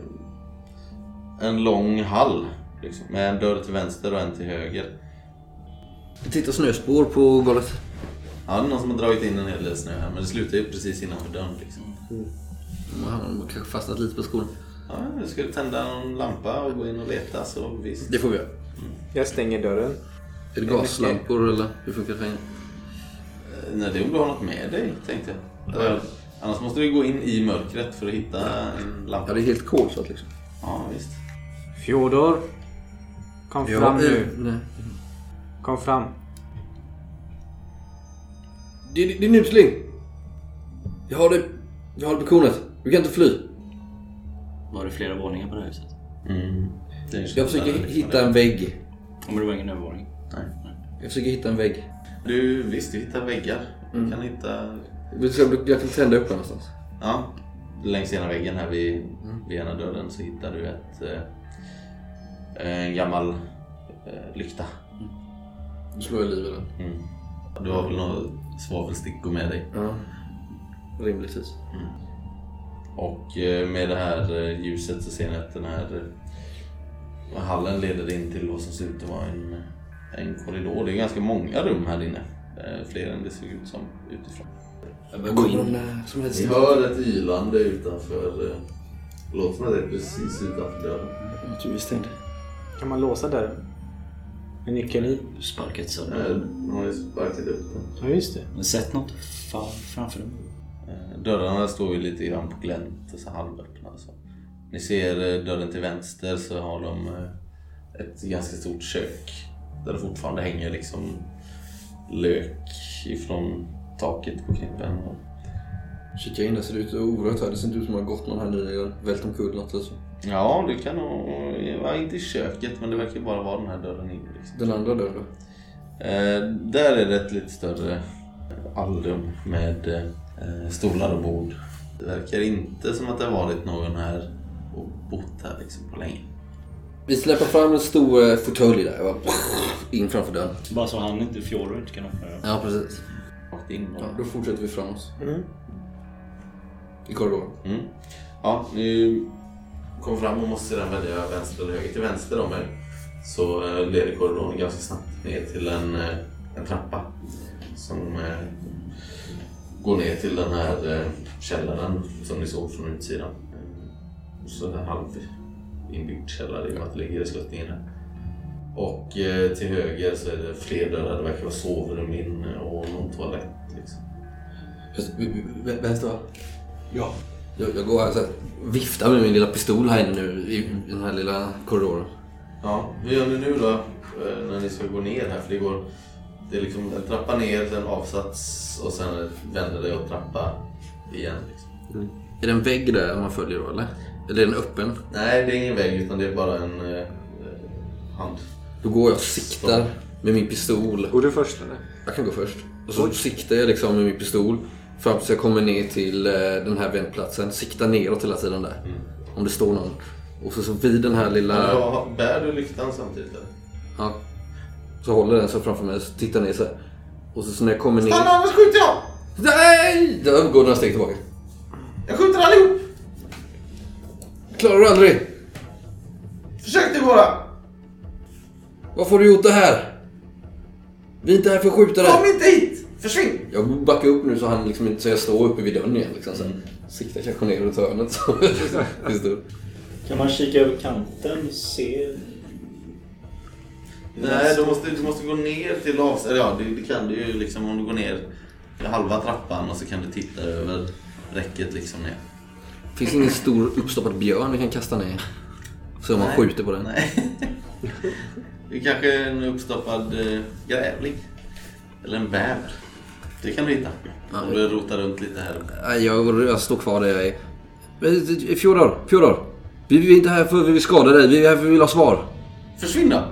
S2: En lång hall. Liksom, med en dörr till vänster och en till höger.
S5: Titta snöspår på golvet.
S2: Ja, det är någon som har dragit in en hel del snö här, men det slutar ju precis innanför dörren. Liksom.
S5: Mm. Man har kanske fastnat lite på skon.
S2: Ja, du ska du tända någon lampa och gå in och leta så visst.
S5: Det får vi göra.
S3: Jag stänger dörren.
S5: Är det gaslampor eller hur funkar det?
S2: Eh, Nej, det är om du har något med dig, tänkte jag. Eller, Annars måste du gå in i mörkret för att hitta en
S5: Ja,
S2: lampa.
S5: det är helt kolsvart liksom.
S2: Ja, visst.
S3: Fjodor. Kom fram nu.
S5: nej.
S3: Kom fram.
S5: Din, din usling! Jag har det, jag har det på kornet. Du kan inte fly.
S4: Var det flera våningar på det här huset?
S2: Mm. Det är en
S5: Jag försöker
S2: källare,
S5: hi-
S2: liksom.
S5: hitta en vägg.
S4: Om det var ingen övervåning.
S2: Nej.
S5: Jag försöker hitta en vägg.
S2: Du, visst, du hittar väggar.
S5: Mm.
S2: Du kan hitta...
S5: Jag ska- jag kan tända upp den någonstans.
S2: Ja, längs ena väggen här vid,
S5: Mm.
S2: vid ena dörren så hittar du ett... eh, En gammal eh, lykta.
S5: Då slår jag liv i den.
S2: Mm. Du har väl några svavelstickor med dig?
S5: Ja. Rimligtvis.
S2: Och eh, med det här eh, ljuset så ser ni att den här eh, hallen leder in till vad som ser ut att vara en, en korridor. Det är ganska många rum här inne. Eh, Fler än det ser ut som utifrån.
S4: Jag börjar gå in.
S5: Någon, eh, som helst.
S2: Ni hör ett ylande utanför. eh, Det låter som att det är precis utanför dörren.
S5: Jag tror vi stängde.
S3: Kan man låsa dörren? Med nyckeln i?
S4: Sparkat sönder.
S2: Eh, De har ju sparkat upp den.
S3: Ja, just det.
S4: Men sett något fan framför dem?
S2: Eh, Dörrarna står ju lite grann på glänt och så halvöppna. och Så. Ni ser eh, dörren till vänster så har de eh, ett ganska stort kök där det fortfarande hänger liksom lök ifrån taket på knippen. Och
S5: Kika in, det ser ut orört här. Det ser inte ut som att det har gått någon här nyligen. Vält omkull något alltså.
S2: Ja, det kan nog... Ja, inte i köket, men det verkar bara vara den här dörren in. Liksom.
S5: Den andra dörren då?
S2: Eh, där är det ett lite större allrum med eh, stolar och bord. Det verkar inte som att det har varit någon här och bott här liksom på länge.
S5: Vi släpper fram en stor eh, fåtölj där. Jag bara, in framför dörren.
S4: Bara så han inte, Fjoro inte kan öppna den.
S5: Ja, precis.
S2: Rakt in
S5: Ja,
S2: bara.
S5: då fortsätter vi framåt. I korridoren.
S2: Mm. Ja, ni kom fram och måste sedan välja vänster eller höger. Till vänster om er så eh, leder korridoren ganska snabbt ner till en, eh, en trappa som eh, går ner till den här eh, källaren som ni såg från utsidan. Eh, Så en halv inbyggd källare i och med att det ligger i sluttningen här. Och eh, till höger så är det fler dörrar. Det verkar vara sovrum in och någon toalett. Liksom.
S5: Fast, v- v- v- Vänster va?
S7: Ja.
S5: Jag, jag går här så här, viftar med min lilla pistol här inne nu i i den här lilla korridoren.
S2: Ja, hur gör ni nu då eh, när ni ska gå ner här? För det går... Det är liksom en trappa ner, sen avsats och sen vänder det och trappa igen. Liksom.
S5: Är det en vägg där man följer då eller? Eller är den öppen?
S2: Nej, det är ingen väg utan det är bara en eh, eh, hand.
S5: Då går jag och siktar med min pistol.
S6: Går du först eller?
S5: Jag kan gå först. Och så siktar jag liksom med min pistol fram tills jag kommer ner till eh, den här vändplatsen. Siktar neråt hela tiden där. Om det står någon. Och så, så vid den här lilla...
S2: Ja, bär du lyktan samtidigt eller?
S5: Ja. Så håller den så framför mig så tittar ner så här. Och så, så när jag kommer ner...
S2: annars skjuter jag!
S5: Nej! Jag går några steg tillbaka.
S2: Jag skjuter allihop!
S5: Klarar du aldrig?
S2: Försök det bara!
S5: Varför har du gjort det här? Vi är inte här för att skjuta dig.
S2: inte hit! Försvinn!
S5: Jag backar upp nu så han liksom inte... Så jag står uppe vid dörren igen liksom. Så här. Siktar kanske ner åt hörnet. så- Pistol.
S4: Kan man kika över kanten och se?
S2: Nej, du måste, du måste gå ner till avsats. eller Ja, det, det kan du ju liksom om du går ner halva trappan och så kan du titta över räcket liksom ner.
S5: Finns det ingen stor uppstoppad björn vi kan kasta ner? Så om man
S2: Nej.
S5: skjuter på den.
S2: Nej. Det är kanske en uppstoppad eh, grävling. Eller en bäver. Det kan du hitta. Om du rotar runt lite här.
S5: Nej, jag, jag står kvar där jag är. Men, eh, Fjodor, Fjodor. Vi, vi är inte här för att vi vill skada dig. Vi är här för att vi vill ha svar.
S2: Försvinn då!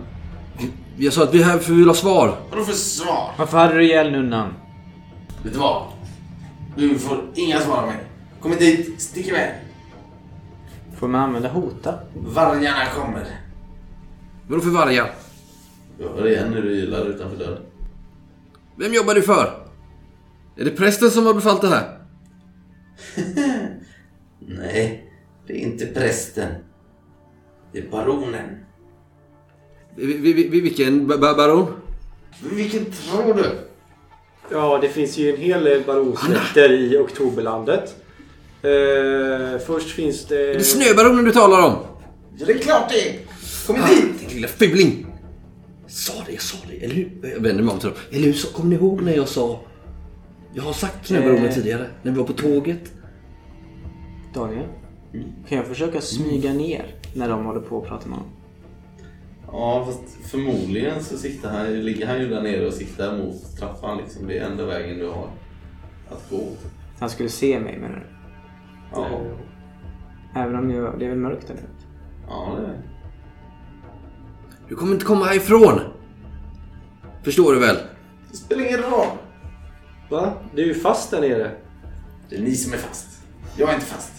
S5: Jag sa att vi är här för att vi vill ha svar.
S2: Vadå för svar?
S3: Varför hade du ihjäl nunnan?
S2: Vet du vad? Du får inga svar av mig. Kom inte hit, stick iväg.
S3: Får man använda hota?
S2: Vargarna kommer.
S5: Vadå för vargar?
S2: Du hör igen hur du ylar utanför dörren.
S5: Vem jobbar du för? Är det prästen som har befallt det här?
S2: Nej, det är inte prästen. Det är baronen.
S5: Vi, vi, vi, vilken ba- ba- baron?
S2: Vilken tror du?
S8: Ja, det finns ju en hel del baronsläkter i Oktoberlandet. Eh, först finns det...
S5: Är det snöbaronen du talar om? Ah,
S2: Ja, det är klart det är. Kom inte hit!
S5: Din lilla fuling! Jag sa det, jag sa det. Eller hur? Jag vänder mig om till dem. Eller hur? Så- Kommer ni ihåg när jag sa... Jag har sagt snöbaronen
S3: Eh.
S5: tidigare. När vi var på tåget.
S3: Daniel? Kan jag försöka smyga ner när de håller på och pratar med honom?
S2: Ja, fast förmodligen så siktar han, ligger han ju där nere och siktar mot trappan. Liksom. Det är enda vägen du har att gå.
S3: Han skulle se mig menar du?
S2: Ja,
S3: Även om jag, det är väl mörkt där nu?
S2: ja det är
S5: Du kommer inte komma härifrån! Förstår du väl?
S2: det. spelar ingen roll.
S8: Va? Du är ju fast där nere.
S2: Det är ni som är fast. Jag är inte fast.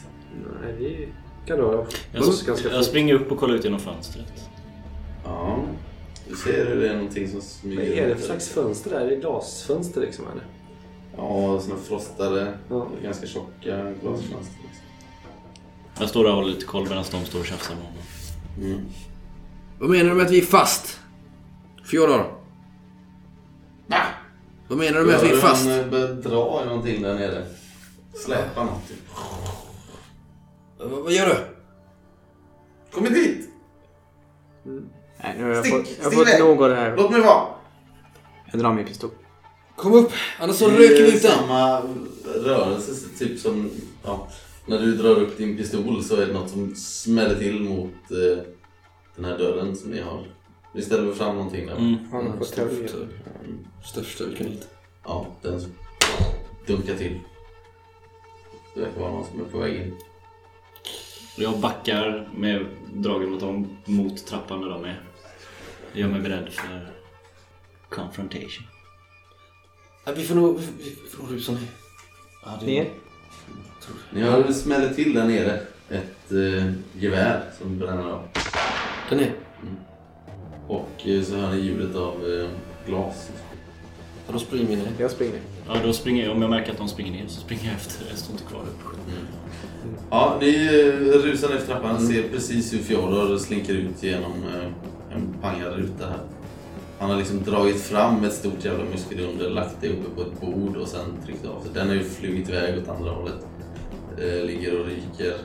S8: Nej, det kan du ha.
S4: Jag,
S6: Mm.
S4: jag springer upp och kollar ut genom fönstret.
S2: Ja, du ser hur det är någonting som smyger
S8: Vad är det för
S2: runt där.
S8: slags fönster där? Är det glasfönster liksom eller?
S2: Ja, såna frostade,
S8: Ja.
S2: ganska tjocka glasfönster. Liksom.
S4: Jag står där och håller lite koll medan de står och tjafsar med honom.
S5: Vad menar du med att vi är fast? Fjodor?
S2: Va?
S5: Vad menar du med att vi är fast?
S2: Han eh, börjar dra i någonting där nere. Släpa något typ.
S5: Vad vad gör du?
S2: Kom inte hit!
S3: Nej, nu har jag
S2: Stick!
S3: fått, jag har
S2: Stick
S3: fått
S2: iväg!
S3: nog av det här.
S2: Låt mig vara!
S3: Jag drar min pistol.
S5: Kom upp, annars så
S2: Det är
S5: röker vi ut dig.
S2: samma rörelse, så typ som ja, när du drar upp din pistol så är det något som smäller till mot eh, den här dörren som ni har. Vi ställer väl fram någonting där.
S4: Mm.
S8: Han har fått träff.
S5: Största vi kan hitta.
S2: Ja, den dunkar till. Det verkar vara någon som är på väg in.
S4: Jag backar med dragen mot dem, mot trappan där de är. Jag gör mig beredd för confrontation.
S5: Ja, Äh, vi får nog, vi får nog rusa nu.
S3: Ner.
S2: Ni hör hur det smäller till där nere. Ett eh, gevär som bränner av.
S5: Den är...
S2: Och eh, så hör ni ljudet av eh, glas.
S5: Ja, då springer vi ner.
S3: Jag springer.
S4: Ja, då springer jag. Om jag märker att de springer ner så springer jag efter. Jag står inte kvar uppe.
S2: Ja, ni eh, rusar ner för trappan. Ser precis hur Fjodor slinker ut genom eh, en pangad ruta här. Han har liksom dragit fram ett stort jävla muskelunder, lagt det uppe på ett bord och sen tryckt av det. Den har ju flugit iväg åt andra hållet. Eh, ligger och ryker.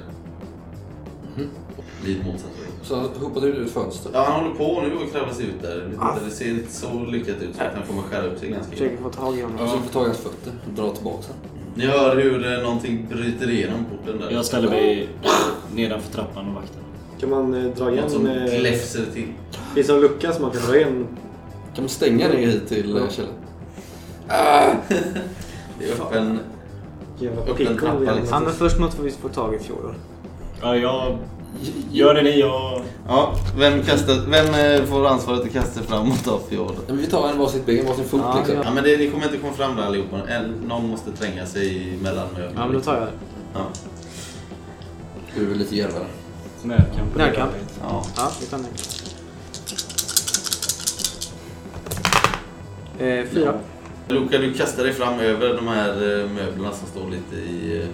S2: Vid motsatt
S5: Så han hoppade ut ur ett fönster.
S2: Ja, han håller på nu och kravlar sig ut där. Jag vet inte, Det ser inte så lyckat ut så att han kommer skära upp sig ganska
S3: Försöker få tag i honom.
S5: Jag försöker få tag i hans fötter och dra tillbaka den.
S2: Ni hör hur eh, någonting bryter igenom porten där.
S4: Jag ställer mig nedanför trappan och vaktar.
S8: Kan man eh, dra
S2: Något som
S8: igen... Eh,
S2: gläfser till.
S8: finns det någon lucka som man kan dra igen?
S5: Kan man stänga ner hit till eh, källaren?
S2: Det är öppen...
S8: Jävla
S2: Upp en
S8: pickon
S2: trappa
S8: igen.
S2: liksom.
S3: Han men först måste vi få tag i Fjodor.
S4: Ja, jag gör det ni. Jag...
S2: Ja, vem, kastar, vem eh, får ansvaret att kasta framåt av Fjord?
S5: Ja, men vi tar en varsitt ben, varsin fot
S3: Ja,
S5: liksom.
S3: ja.
S2: Ja, men det, ni kommer inte komma fram där allihopa. En, någon måste tränga sig mellan
S3: Ja, men då tar jag det.
S2: Ja.
S5: Du är väl lite djärvare.
S4: Närkamp.
S3: Närkamp.
S2: ja.
S3: Ja, vi tar närkamp. Eh, fyra.
S2: Luka, du kastar dig fram över de här eh, möblerna som står lite i eh,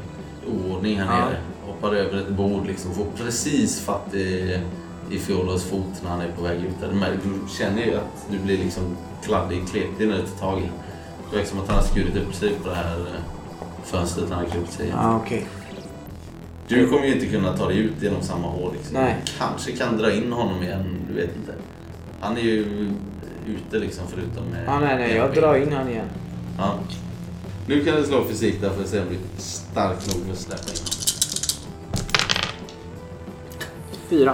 S2: oordning här
S3: Ja.
S2: nere. Hoppar över ett bord liksom. Får precis fatt i, i Fjolos fot när han är på väg ut. där. Du märker- Du känner ju att du blir liksom kladdig, kletig när du tar tag i honom. Det verkar som att han har skurit upp sig på det här eh, fönstret när han har klippt sig. i.
S3: Ja, okej.
S2: Du kommer ju inte kunna ta dig ut genom samma hål. Liksom.
S3: Nej.
S2: Du Kanske kan dra in honom igen, du vet inte. Han är ju ute liksom förutom med...
S3: Ja, nej, nej, jag
S2: med-
S3: drar in han igen.
S2: Ja. Nu kan du slå fysik där för att se om du är stark nog för att släppa in
S3: Fyra.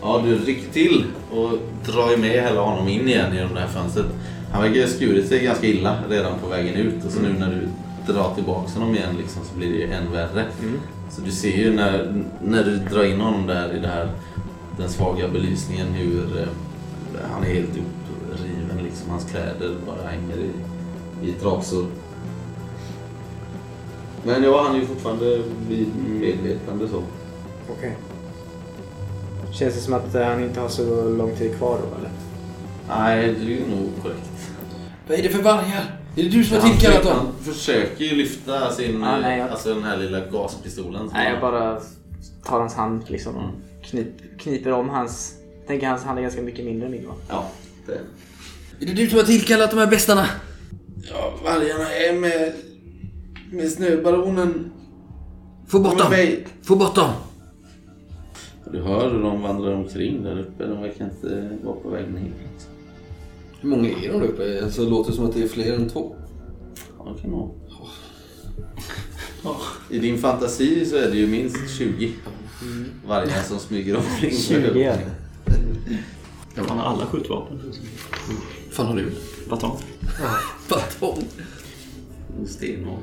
S2: Ja, du rycker till och drar med hela honom in igen genom det här fönstret. Han verkar ha skurit sig ganska illa redan på vägen ut och så nu när du drar tillbaka honom igen liksom, så blir det ju än värre. Så du ser ju när, när du drar in honom där i det här, den svaga belysningen hur eh, han är helt uppriven. Liksom, hans kläder bara hänger i, i trasor. Men ja, han är ju fortfarande vid medvetande så.
S3: Okej. Känns det som att eh, han inte har så lång tid kvar då, eller?
S2: Nej, det är ju nog korrekt.
S5: Vad är det för vargar? Är det du som har
S2: Han,
S5: tillkallat
S2: försöker,
S5: dem?
S2: han försöker ju lyfta sin,
S3: Ja, nej, jag-
S2: alltså den här lilla gaspistolen. som
S3: Nej,
S2: han-
S3: jag bara tar hans hand liksom
S2: Mm.
S3: och knip, kniper om hans... Tänker hans hand är ganska mycket mindre än min va?
S2: Ja, det.
S5: Är det du som har tillkallat de här bestarna?
S2: ja, vargarna är med, med snöbaronen.
S5: Få bort dem! Få bort dem!
S2: Du hör hur de vandrar omkring där uppe. De verkar inte vara på väg ner.
S5: Hur många är de där uppe? Alltså, det låter som att det är fler än två.
S2: Ja, det kan vara. I din fantasi så är det ju minst 20 vargar som smyger omkring.
S3: 20 är det.
S4: Han har alla skjutvapen.
S5: fan har du?
S4: Batong.
S5: Batong!
S2: Stenhård.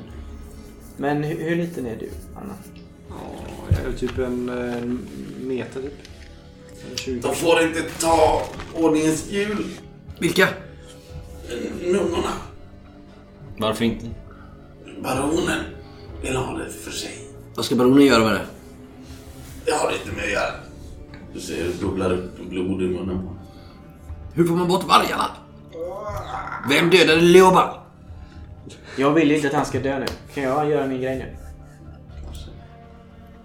S3: Men hur, hur liten är du, Anna?
S8: Jag är typ en, eh, meter typ. En 20.
S2: De får inte ta ordningens hjul,
S5: Vilka?
S2: nunnorna.
S4: Varför inte?
S2: Baronen vill ha det för sig.
S5: Vad ska baronen göra med det?
S2: Jag har lite med att göra. Du ser hur det bubblar upp blod i munnen på honom.
S5: Hur får man bort vargarna? Vem dödade Leoban?
S3: Jag vill inte att han ska dö nu. Kan jag göra min grej nu?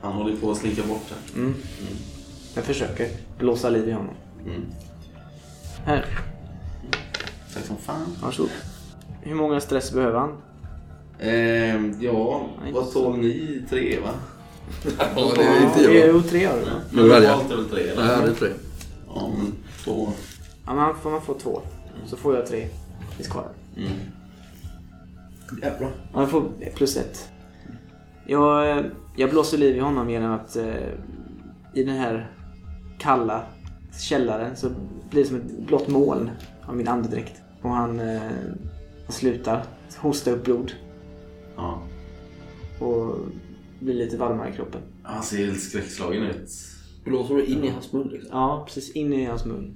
S2: Han håller på att slinka bort den.
S3: Jag försöker blåsa liv i honom. Här,
S2: Tack som fan.
S3: varsågod. Hur många stress behöver han?
S2: Ehm, ja,
S3: Nej,
S2: vad tål ni? Tre va?
S5: Ja, det är inte
S3: Ja,
S5: jag.
S3: Jo, tre har du va?
S5: Men vargar.
S2: Totalt är väl tre eller?
S5: Ja, det tror jag.
S2: Ja, men två.
S3: Ja, men han får man få två. Så får jag tre. Det är kvar.
S2: Jävlar.
S3: Ja, jag får plus ett. Jag, eh, jag blåser liv i honom genom att eh, i den här kalla källaren så blir det som ett blått moln av min andedräkt. Och han eh, slutar hosta upp blod.
S2: Ja.
S3: och blir lite varmare i kroppen.
S2: Han ser helt skräckslagen ut.
S5: Blåser du in i hans mun liksom?
S3: Ja, precis in i hans mun.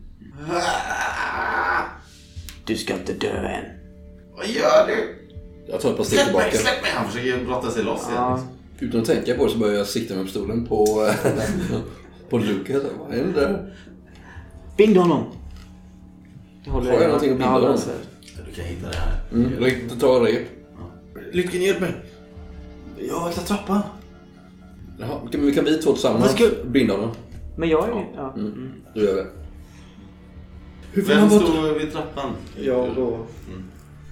S3: Du ska inte dö än.
S2: Vad gör du?
S5: Jag tar ett par steg
S2: Släpp mig,
S5: tillbaka.
S2: släpp mig! Han försöker brotta sig loss igen.
S3: Ja,
S2: liksom.
S5: Utan att tänka på det så börjar jag sikta med pistolen på, på Lukas. Vad är det där?
S3: bind honom! Jag håller
S5: Har jag någonting att binda
S3: Ja,
S5: honom?
S3: alltså.
S2: Du kan hitta det här.
S5: Mm. Jag tar rep.
S6: Lycken, hjälp mig! Jag har hittat trappan.
S5: Jaha, men vi kan vi två tillsammans
S3: Vad ska-
S5: binda honom.
S3: Men jag är ju... Ja.
S5: Mm. Då gör vi det. Hur får
S2: Vem
S5: han bort...
S2: står vid trappan?
S8: Jag och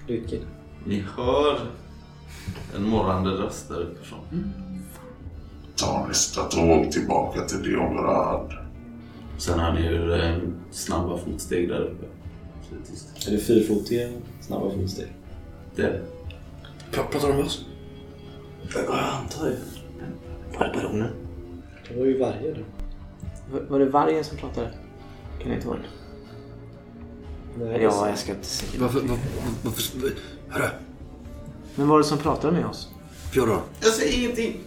S8: Lykke.
S2: Ni hör en morrande röst där uppifrån.
S7: Mm.
S9: Ta nästa tåg tillbaka till Diongrad.
S2: Sen hör ni hur eh, snabba fotsteg där uppe. Så det är tyst.
S7: Är det fyrfotiga snabba fotsteg?
S2: Det är det.
S5: Pra- Pratar de med oss?
S8: Det var ju varje då.
S3: Var- Var det vargen som pratade? Kan det inte vara det?
S8: Nej,
S3: Ja, jag ska inte säga.
S6: Varför... var- var- Varför... Hörru,
S3: Men var det som pratade med oss?
S6: Fjodor.
S2: Jag säger ingenting.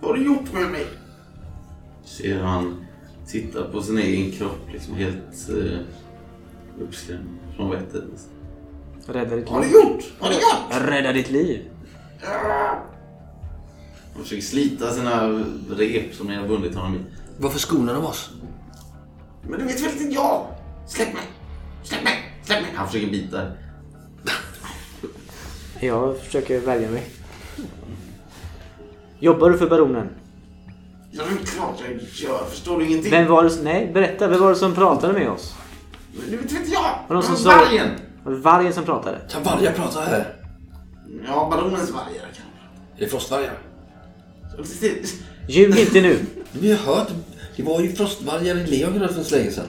S2: Vad har du gjort med mig? Ser hur han tittar på sin egen kropp liksom helt eh, uppskrämd från vettet. nästan.
S3: Rädda ditt
S2: Vad har
S3: liv.
S2: du gjort? Vad har du gjort?
S3: Rädda ditt liv!
S2: Han försöker slita sina rep som ni har bundit honom i.
S6: Varför skonar de oss?
S2: Men du vet väl inte jag? Släpp mig! Släpp mig! Släpp mig! Han försöker bita.
S3: Jag försöker värja mig. Jobbar du för baronen?
S2: Ja, det är klart jag gör. Förstår du ingenting?
S3: Vem var det som... Nej, berätta. Vem var det som pratade med oss?
S2: Men du vet väl inte jag?
S3: Var det någon som
S2: Men
S3: sa-
S2: Vargen!
S3: Var det vargen som pratade?
S5: Kan vargar prata här?
S2: Ja, baronens vargar kanske.
S5: Är det frostvargar?
S3: Ljug inte nu!
S5: Vi har hört. Det var ju frostvargar i Leongrad för så länge sedan.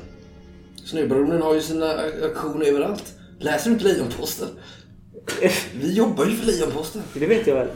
S5: Snöbaronen har ju sina a- aktioner överallt. Läser du inte Lejonposten? Vi jobbar ju för Lejonposten.
S3: Det vet jag väl.